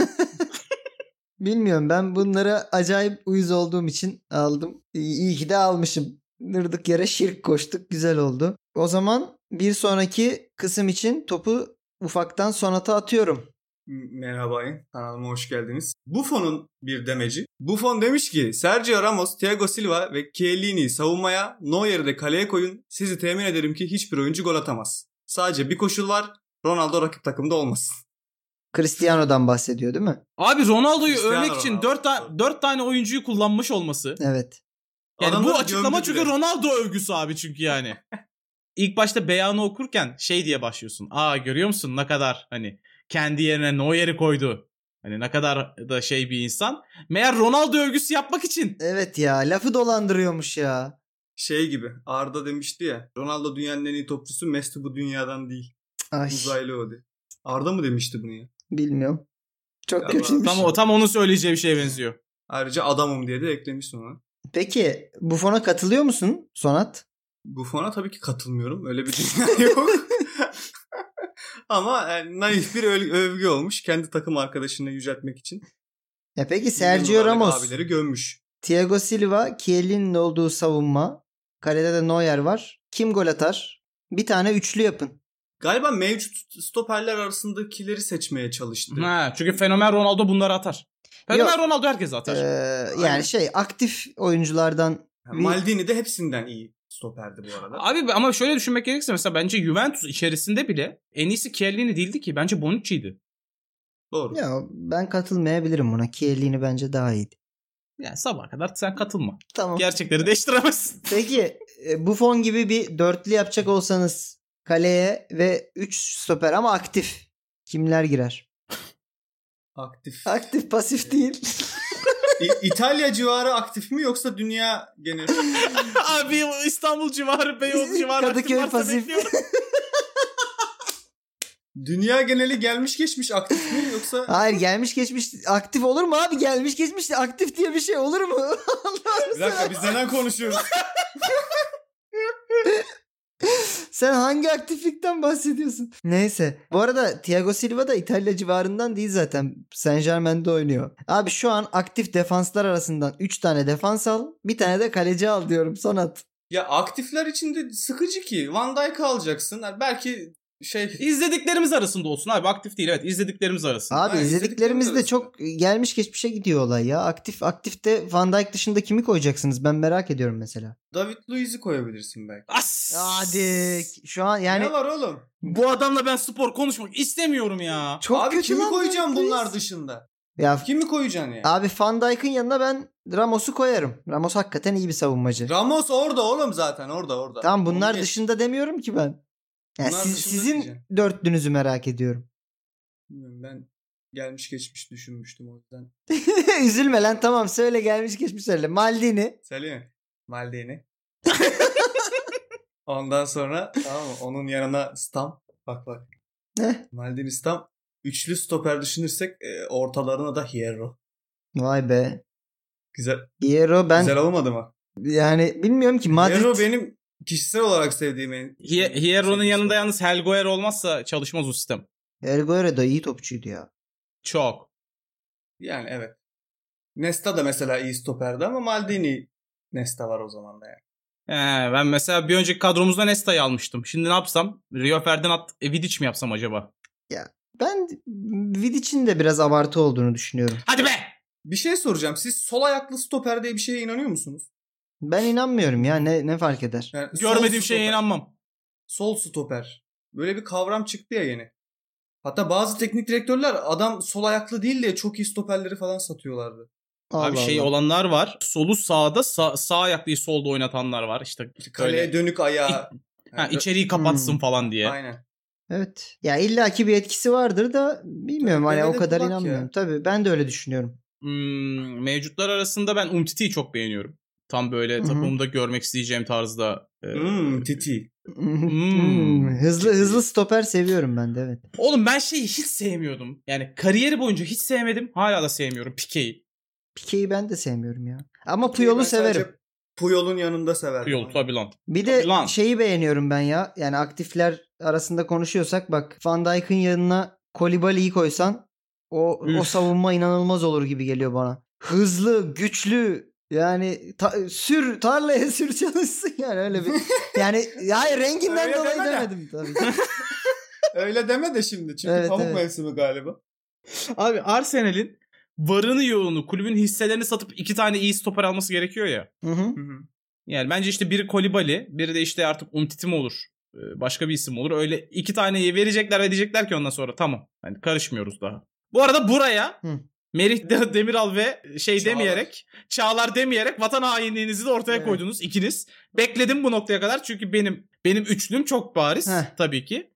Bilmiyorum ben bunlara acayip uyuz olduğum için aldım. İyi iyi ki de almışım. Nırdık yere şirk koştuk. Güzel oldu. O zaman bir sonraki kısım için topu ufaktan sonata atıyorum.
Merhaba kanalıma hoş geldiniz. Buffon'un bir demeci. Buffon demiş ki Sergio Ramos, Thiago Silva ve Chiellini savunmaya Neuer'i de kaleye koyun. Sizi temin ederim ki hiçbir oyuncu gol atamaz. Sadece bir koşul var. Ronaldo rakip takımda olmasın.
Cristiano'dan bahsediyor değil mi?
Abi Ronaldo'yu
Cristiano
övmek için
Ronaldo.
4, ta- 4 tane oyuncuyu kullanmış olması.
Evet.
Yani
Adamları
bu açıklama
gömdü
çünkü
bile.
Ronaldo övgüsü abi çünkü yani. İlk başta beyanı okurken şey diye başlıyorsun. Aa görüyor musun ne kadar hani kendi yerine Neuer'i koydu. Hani ne kadar da şey bir insan. Meğer Ronaldo övgüsü yapmak için.
Evet ya lafı dolandırıyormuş ya.
Şey gibi Arda demişti ya Ronaldo dünyanın en iyi topçusu Messi bu dünyadan değil.
Ay
Uzaylı o diye. Arda mı demişti bunu ya?
bilmiyorum.
Ya
Çok
bak,
kötüymüş.
Tam o tam onun söyleyeceği bir şeye benziyor.
Ayrıca adamım diye de eklemiş ona.
Peki Buffon'a katılıyor musun Sonat?
Buffon'a tabii ki katılmıyorum. Öyle bir dünya yok. Ama yani naif bir öl- övgü olmuş. Kendi takım arkadaşını yüceltmek için.
Ya peki Sergio
Yıldızlardaki
Ramos,
Abileri gömmüş.
Thiago Silva, Kielin'in olduğu savunma. Kalede de Neuer var. Kim gol atar? Bir tane üçlü yapın.
Galiba mevcut stoperler arasındakileri seçmeye çalıştı.
Ha, çünkü fenomen Ronaldo bunları atar. Fenomen
Yok.
Ronaldo herkes atar.
Ee,
Aynen.
yani şey aktif oyunculardan
Yani Maldini de hepsinden iyi stoperdi bu arada.
Abi ama şöyle düşünmek gerekirse mesela bence Juventus içerisinde bile en iyisi Chiellini değildi ki. Bence Bonucci'ydi.
Doğru.
ya ben katılmayabilirim buna. Kielin'i bence daha iyiydi.
Yani sabaha kadar sen katılma.
Tamam.
Gerçekleri değiştiremezsin.
Peki e, Buffon gibi bir dörtlü yapacak olsanız kaleye ve 3 stoper ama aktif. Kimler girer?
Aktif.
Aktif pasif değil.
İ- İtalya civarı aktif mi yoksa dünya genel?
Abi İstanbul civarı, Beyoğlu civarı.
Kadıköy
varsa
pasif.
bekliyorum.
dünya geneli gelmiş geçmiş aktif mi yoksa
Hayır gelmiş geçmiş aktif olur mu abi? Gelmiş geçmiş de aktif diye bir şey olur mu? Allah'ım
Bir dakika biz neden konuşuyoruz?
sen hangi aktiflikten bahsediyorsun? Neyse. Bu arada Thiago Silva da İtalya civarından değil zaten. Saint Germain'de oynuyor. Abi şu an aktif defanslar arasından 3 tane defans al. Bir tane de kaleci al diyorum Sonat.
ya aktifler içinde sıkıcı ki. Van Dijk alacaksın. Yani belki şey
İzlediklerimiz arasında olsun abi. Aktif değil evet. izlediklerimiz arasında.
Abi
Ha,
izlediklerimiz de
izlediklerimiz
çok gelmiş geçmişe gidiyor olay ya. Aktif aktifte Van Dijk dışında kimi koyacaksınız? Ben merak ediyorum mesela.
David Luiz'i koyabilirsin belki.
As.
Hadi şu an yani
ne var oğlum?
Bu adamla ben spor konuşmak istemiyorum ya.
çok
Abi
kötü
kimi
lan
koyacaksın
David Luiz.
bunlar dışında?
Ya
Kimi koyacaksın yani?
Abi Van Dijk'ın yanına ben Ramos'u koyarım. Ramos hakikaten iyi bir savunmacı.
Ramos orada oğlum zaten orada orada.
tamam
Onu
bunlar
geç.
dışında demiyorum ki ben. Yani
Bunlar
siz-
dışında
sizin
diyeceğim.
dörtlünüzü merak ediyorum.
Bilmiyorum, Ben gelmiş geçmiş düşünmüştüm o yüzden.
Üzülme lan tamam söyle gelmiş geçmiş söyle. Maldini.
Selim Maldini. Ondan sonra tamam mı? Onun yanına Stam. Bak bak.
Heh.
Maldini Stam. Üçlü stoper düşünürsek e, ortalarına da Hierro.
Vay be.
Güzel
Hierro ben
güzel olmadı mı?
yani bilmiyorum ki Madrid
Hierro benim kişisel olarak sevdiğim en...
Hie- Hierro'nun yanında yalnız Helgoer olmazsa çalışmaz o sistem.
Erguero da iyi topçuydu ya.
Çok.
Yani evet. Nesta da mesela iyi stoperdi ama Maldini Nesta var o zaman da yani.
Ee, ben mesela bir önceki kadromuzda Nesta'yı almıştım. Şimdi ne yapsam? Rio Ferdinand e, Vidic mi yapsam acaba?
Ben Vidic'in de biraz abartı olduğunu düşünüyorum.
Hadi be!
Bir şey soracağım. Siz sol ayaklı stoper diye bir şeye inanıyor musunuz?
Ben inanmıyorum ya ne ne fark eder?
Yani sol
Görmediğim şeye
stoper.
inanmam.
Sol stoper. Böyle bir kavram çıktı ya yeni. Hatta bazı teknik direktörler adam sol ayaklı değil de çok iyi stoperleri falan satıyorlardı.
Allah
Abi şey
Allah.
olanlar var. Solu sağda, sağ, sağ ayaklıyı solda oynatanlar var. İşte
Kaleye
Öyle.
dönük ayağı.
ha,
Yani
içeriği kapatsın
Hmm.
falan diye.
Aynen.
Evet. Ya illaki bir etkisi vardır da bilmiyorum
Tabii,
hani o
deve de
kadar
kulak ya.
inanmıyorum. Tabii ben de öyle düşünüyorum.
Hmm, mevcutlar arasında ben Umtiti'yi çok beğeniyorum. Tam böyle
Hı hı.
takımımda görmek isteyeceğim tarzda. e,
Hmm, titi.
Hmm, Hızlı hızlı stoper seviyorum ben de evet.
Oğlum ben şeyi hiç sevmiyordum. Yani kariyeri boyunca hiç sevmedim. Hala da sevmiyorum Pique'yi.
Pique'yi ben de sevmiyorum ya. Ama Puyol'u
Ben
severim.
sadece Puyol'un yanında severim.
Yol tabii lan.
Bir de
Lan.
şeyi beğeniyorum ben ya. Yani aktifler arasında konuşuyorsak bak Van Dijk'ın yanına Kolibali'yi koysan o o
Üf.
savunma inanılmaz olur gibi geliyor bana. Hızlı, güçlü yani ta- sür tarlaya sür çalışsın yani öyle bir. Yani hayır renginden
Öyle
dolayı
deme de.
demedim tabii.
Öyle deme de şimdi. Çünkü
Evet,
pamuk
evet.
mevsimi galiba.
Abi Arsenal'in varını yoğunu kulübün hisselerini satıp iki tane iyi stoper alması gerekiyor ya.
Hı hı.
Yani bence işte biri Kolibali, biri de işte artık Umtiti mi olur? e, Başka bir isim olur. Öyle iki taneyi verecekler ve diyecekler ki ondan sonra tamam. Hani karışmıyoruz daha. Bu arada buraya
Hı.
Merih De- Demiral ve şey
Çağlar.
demeyerek, Çağlar demeyerek vatan hainliğinizi de ortaya
Evet.
koydunuz ikiniz. Bekledim bu noktaya kadar çünkü benim benim üçlüm çok bariz
Heh.
tabii ki.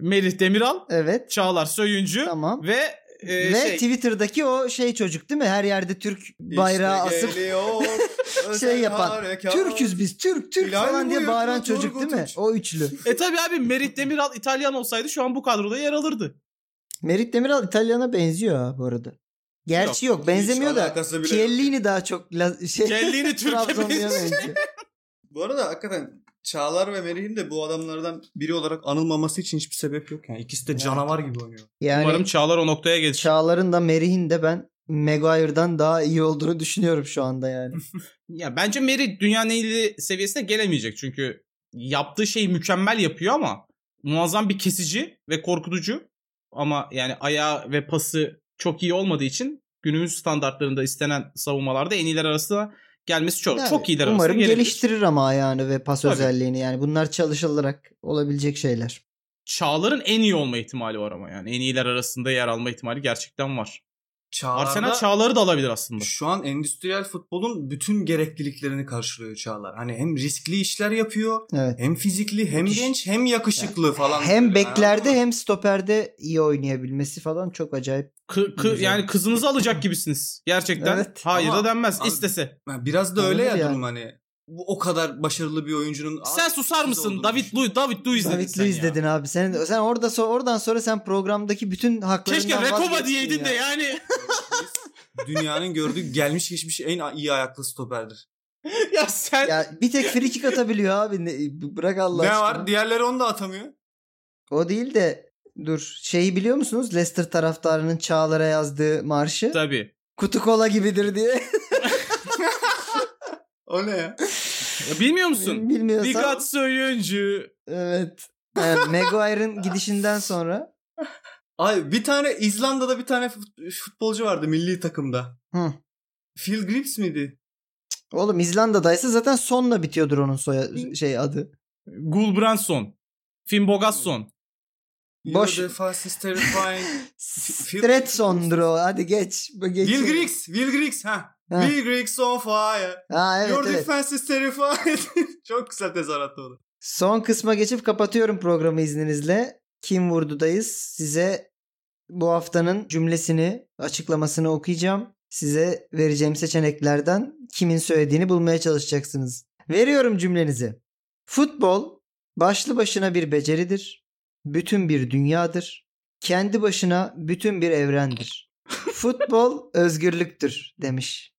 Merih Demiral,
Evet.
Çağlar Söyüncü
Tamam.
ve e,
Ve
şey,
Twitter'daki o şey çocuk değil mi? Her yerde Türk bayrağı
İşte
asıp
geliyor, özel
şey yapan,
harekat.
Türküz biz Türk Türk
Hilal
falan
mi
diye
bu
bağıran
yoksa
çocuk değil mi?
Turgut Uç?
O üçlü.
E tabii abi Merih Demiral İtalyan olsaydı şu an bu kadroda yer alırdı.
Merit Demiral İtalyan'a benziyor ha bu arada. Gerçi yok, benzemiyor
Hiç
da
alakası bile yok.
Chiellini daha çok la- şey
Kellini Türk'e
Trabzonlu'ya
benziyor.
benziyor.
Bu arada hakikaten Çağlar ve Merih'in de bu adamlardan biri olarak anılmaması için hiçbir sebep yok. Yani ikisi de
Evet.
canavar gibi oynuyor.
Yani
Umarım Çağlar o noktaya gelir.
Çağlar'ın da Merih'in de ben Maguire'dan daha iyi olduğunu düşünüyorum şu anda yani.
Ya bence Meri dünyanın en iyi seviyesine gelemeyecek çünkü yaptığı şeyi mükemmel yapıyor ama muazzam bir kesici ve korkutucu ama yani ayağı ve pası çok iyi olmadığı için günümüz standartlarında istenen savunmalarda en iyiler arasında gelmesi çok
Yani
çok iyiler
Umarım
arasında gelebilir.
geliştirir ama ayağını ve pas
Tabii.
özelliğini yani bunlar çalışılarak olabilecek şeyler.
Çağlar'ın en iyi olma ihtimali var ama yani en iyiler arasında yer alma ihtimali gerçekten var.
Çağlar'da
Arsenal Çağlar'ı da alabilir aslında.
şu an endüstriyel futbolun bütün gerekliliklerini karşılıyor Çağlar. Hani hem riskli işler yapıyor,
Evet.
hem fizikli, hem
Müthiş.
genç, hem yakışıklı falan.
Hem
böyle.
beklerde
Anladın mı?
hem stoperde iyi oynayabilmesi falan çok acayip.
Kı- kı-
Güzel.
yani kızınızı alacak gibisiniz. Gerçekten.
Evet.
Hayır
Ama-
da denmez.
Abi-
İstese.
Ha, Biraz da öyle
Olabilir
ya
yani.
durum hani. Bu o kadar başarılı bir oyuncunun
Sen susar mısın? David Luiz David Luiz dedin
David
sen
Luiz
ya.
dedin abi. Sen sen orada so- oradan sonra sen programdaki bütün haklarından
Keşke Rekoba
vazgeçtin
diyeydin
ya.
de yani.
dünyanın gördüğü gelmiş geçmiş en iyi ayaklı stoperdir.
ya sen
Ya bir tek free kick atabiliyor abi. Ne- bırak Allah
ne
aşkına.
var? Diğerleri onu da atamıyor.
O değil de dur şeyi biliyor musunuz? Leicester taraftarının Çağlar'a yazdığı marşı.
tabii.
Kutu kola gibidir diye.
O ne ya?
Ya bilmiyor musun?
Bilmiyorsan.
Dikkat söyüncü.
Evet. Yani Maguire'ın gidişinden sonra.
Ay bir tane İzlanda'da bir tane fut- futbolcu vardı milli takımda.
Hı.
Phil Grips miydi?
Oğlum İzlanda'daysa zaten sonla bitiyordur onun soya şey adı.
Gulbranson. Finn Bogasson.
Boş.
Your defense is terrifying. Phil-
Stretson'dur o. Hadi geç. geç.
Will Griggs, Will Griggs ha.
Ha.
Will Griggs on fire.
Ha evet
Your
evet.
defense is terrifying. Çok güzel tezahürat oldu.
Son kısma geçip kapatıyorum programı izninizle. Kim vurdudayız? Size bu haftanın cümlesini, açıklamasını okuyacağım. Size vereceğim seçeneklerden kimin söylediğini bulmaya çalışacaksınız. Veriyorum cümlenizi. Futbol başlı başına bir beceridir. Bütün bir dünyadır. kendi başına bütün bir evrendir. Futbol özgürlüktür demiş.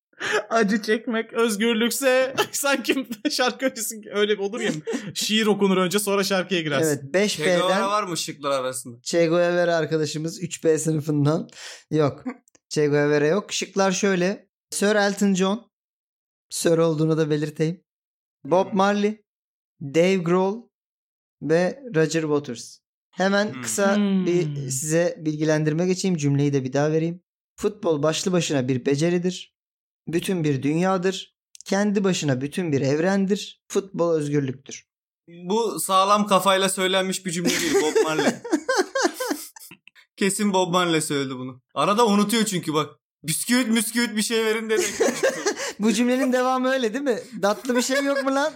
Acı çekmek özgürlükse sanki şarkı öncesi öyle olur ya. Şiir okunur önce sonra şarkıya girersin.
Evet 5B'den
Kegavara var mı şıklar arasında?
Che Guevara arkadaşımız 3B sınıfından. Yok. Che Guevara yok. Şıklar şöyle. Sir Elton John. Sir olduğunu da belirteyim. Bob Marley. Dave Grohl ve Roger Waters. Hemen
Hmm.
kısa
Hmm.
bir size bilgilendirme geçeyim. Cümleyi de bir daha vereyim. Futbol başlı başına bir beceridir. Bütün bir dünyadır. Kendi başına bütün bir evrendir. Futbol özgürlüktür.
Bu sağlam kafayla söylenmiş bir cümle değil Bob Marley. Kesin Bob Marley söyledi bunu. Arada unutuyor çünkü bak. Bisküvit müsküvit bir şey verin dedi.
Bu cümlenin devamı öyle değil mi? Tatlı bir şey yok mu lan?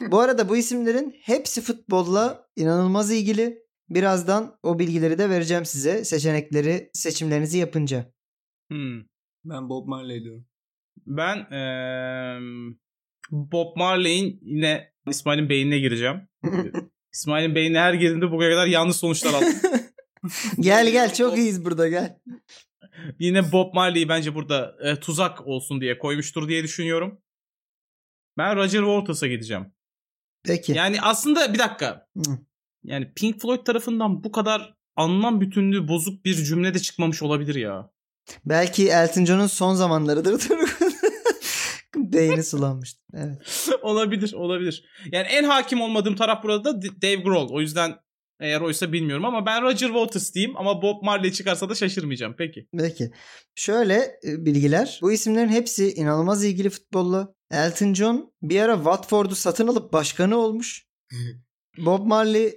bu arada bu isimlerin hepsi futbolla inanılmaz ilgili. Birazdan o bilgileri de vereceğim size seçenekleri seçimlerinizi yapınca.
Hmm.
ben Bob Marley diyorum.
Ben eee, Bob Marley'in yine İsmail'in beynine gireceğim. İsmail'in beynine her girdiğimde bugüne kadar yanlış sonuçlar aldım.
Gel gel çok iyiyiz burada gel.
yine Bob Marley'i bence burada e, tuzak olsun diye koymuştur diye düşünüyorum. Ben Roger Waters'a gideceğim.
Peki.
Yani aslında bir dakika.
Hı.
Yani Pink Floyd tarafından bu kadar anlam bütünlüğü bozuk bir cümle de çıkmamış olabilir ya.
Belki Elton John'un son zamanlarıdır. Beyni sulanmıştı. Evet.
olabilir, olabilir. Yani en hakim olmadığım taraf burada da D- Dave Grohl. O yüzden eğer oysa bilmiyorum ama ben Roger Waters diyeyim ama Bob Marley çıkarsa da şaşırmayacağım. Peki.
Peki. Şöyle e, bilgiler. Bu isimlerin hepsi inanılmaz ilgili futbolla. Elton John bir ara Watford'u satın alıp başkanı olmuş. Bob Marley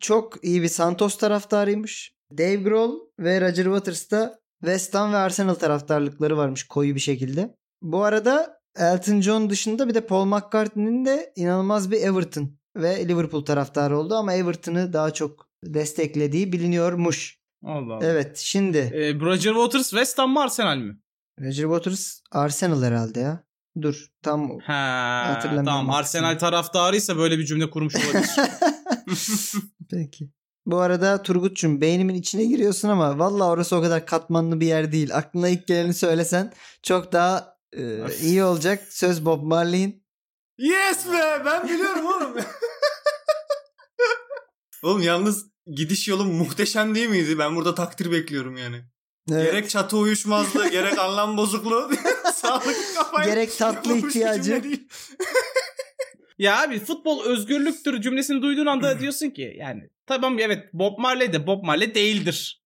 çok iyi bir Santos taraftarıymış. Dave Grohl ve Roger Waters da West Ham ve Arsenal taraftarlıkları varmış koyu bir şekilde. Bu arada Elton John dışında bir de Paul McCartney'nin de inanılmaz bir Everton ve Liverpool taraftarı oldu ama Everton'ı daha çok desteklediği biliniyormuş.
Allah Allah.
Evet şimdi
Ee, Roger Waters West Ham mı Arsenal mi?
Roger Waters Arsenal herhalde ya. Dur tam o.
Ha,
Hatırlamıyorum
tamam
aslında.
Arsenal taraftarıysa böyle bir cümle kurmuş olabilir.
Peki. Bu arada Turgut'cum beynimin içine giriyorsun ama valla orası o kadar katmanlı bir yer değil. Aklına ilk geleni söylesen çok daha e,
Of.
iyi olacak. Söz Bob Marley'in.
Yes be ben biliyorum oğlum. oğlum yalnız gidiş yolum muhteşem değil miydi? Ben burada takdir bekliyorum yani.
Evet.
Gerek çatı uyuşmazlığı, gerek anlam bozukluğu, sağlıklı kafayla.
Gerek tatlı
yapılmış bir cümle
ihtiyacı.
değil.
Ya abi futbol özgürlüktür cümlesini duyduğun anda diyorsun ki yani tamam evet Bob Marley de Bob Marley değildir.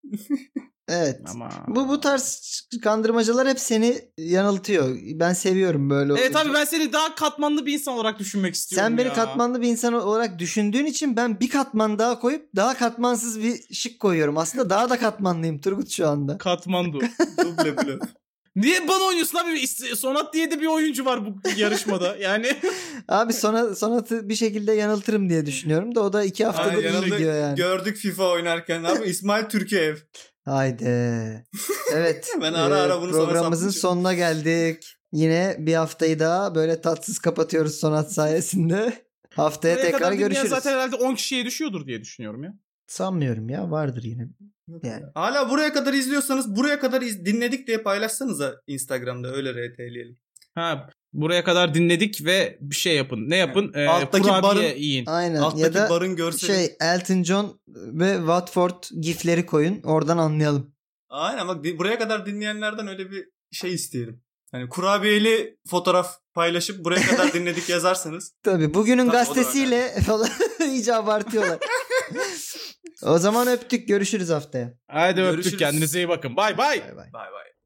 Evet.
Ama
Bu bu tarz kandırmacalar hep seni yanıltıyor. Ben seviyorum böyle.
Evet
olunca.
abi ben seni daha katmanlı bir insan olarak düşünmek istiyorum
Sen beni
ya.
katmanlı bir insan olarak düşündüğün için ben bir katman daha koyup daha katmansız bir şık koyuyorum. Aslında daha da katmanlıyım Turgut şu anda.
Katmandu.
Duble blö.
Niye bana oynuyorsun abi? İs- Sonat diye de bir oyuncu var bu yarışmada. Yani
Abi sona, sonatı bir şekilde yanıltırım diye düşünüyorum da o da iki haftada
Ay,
bir
yanıldı.
gidiyor yani.
Gördük FIFA oynarken abi İsmail Türkiyev.
Haydi. Evet. e,
Ben ara ara bunu sana
Programımızın
saplayacağım.
sonuna geldik. Yine bir haftayı daha böyle tatsız kapatıyoruz sonat sayesinde. Haftaya
buraya kadar
tekrar
dinleyen
görüşürüz.
zaten herhalde 10 kişiye düşüyordur diye düşünüyorum ya.
Sanmıyorum ya vardır yine. Yani.
Hala buraya kadar izliyorsanız buraya kadar iz- dinledik diye paylaşsanıza Instagram'da öyle RT'leyelim.
Ha buraya kadar dinledik ve bir şey yapın. Ne yapın? Ee,
Alttaki
kurabiye
barın-
yiyin.
Aynen. ya
Alttaki
da
barın görseli.
şey Elton John ve Watford gifleri koyun. Oradan anlayalım.
Aynen bak di- buraya kadar dinleyenlerden öyle bir şey isteyelim. Hani kurabiyeli fotoğraf paylaşıp buraya kadar dinledik yazarsanız.
Tabii bugünün
Tabii, o da var
gazetesiyle falan iyice abartıyorlar. o zaman öptük. Görüşürüz haftaya.
Haydi öptük
Görüşürüz.
kendinize iyi bakın. Bay bay.
Bay bay.
Bay bay.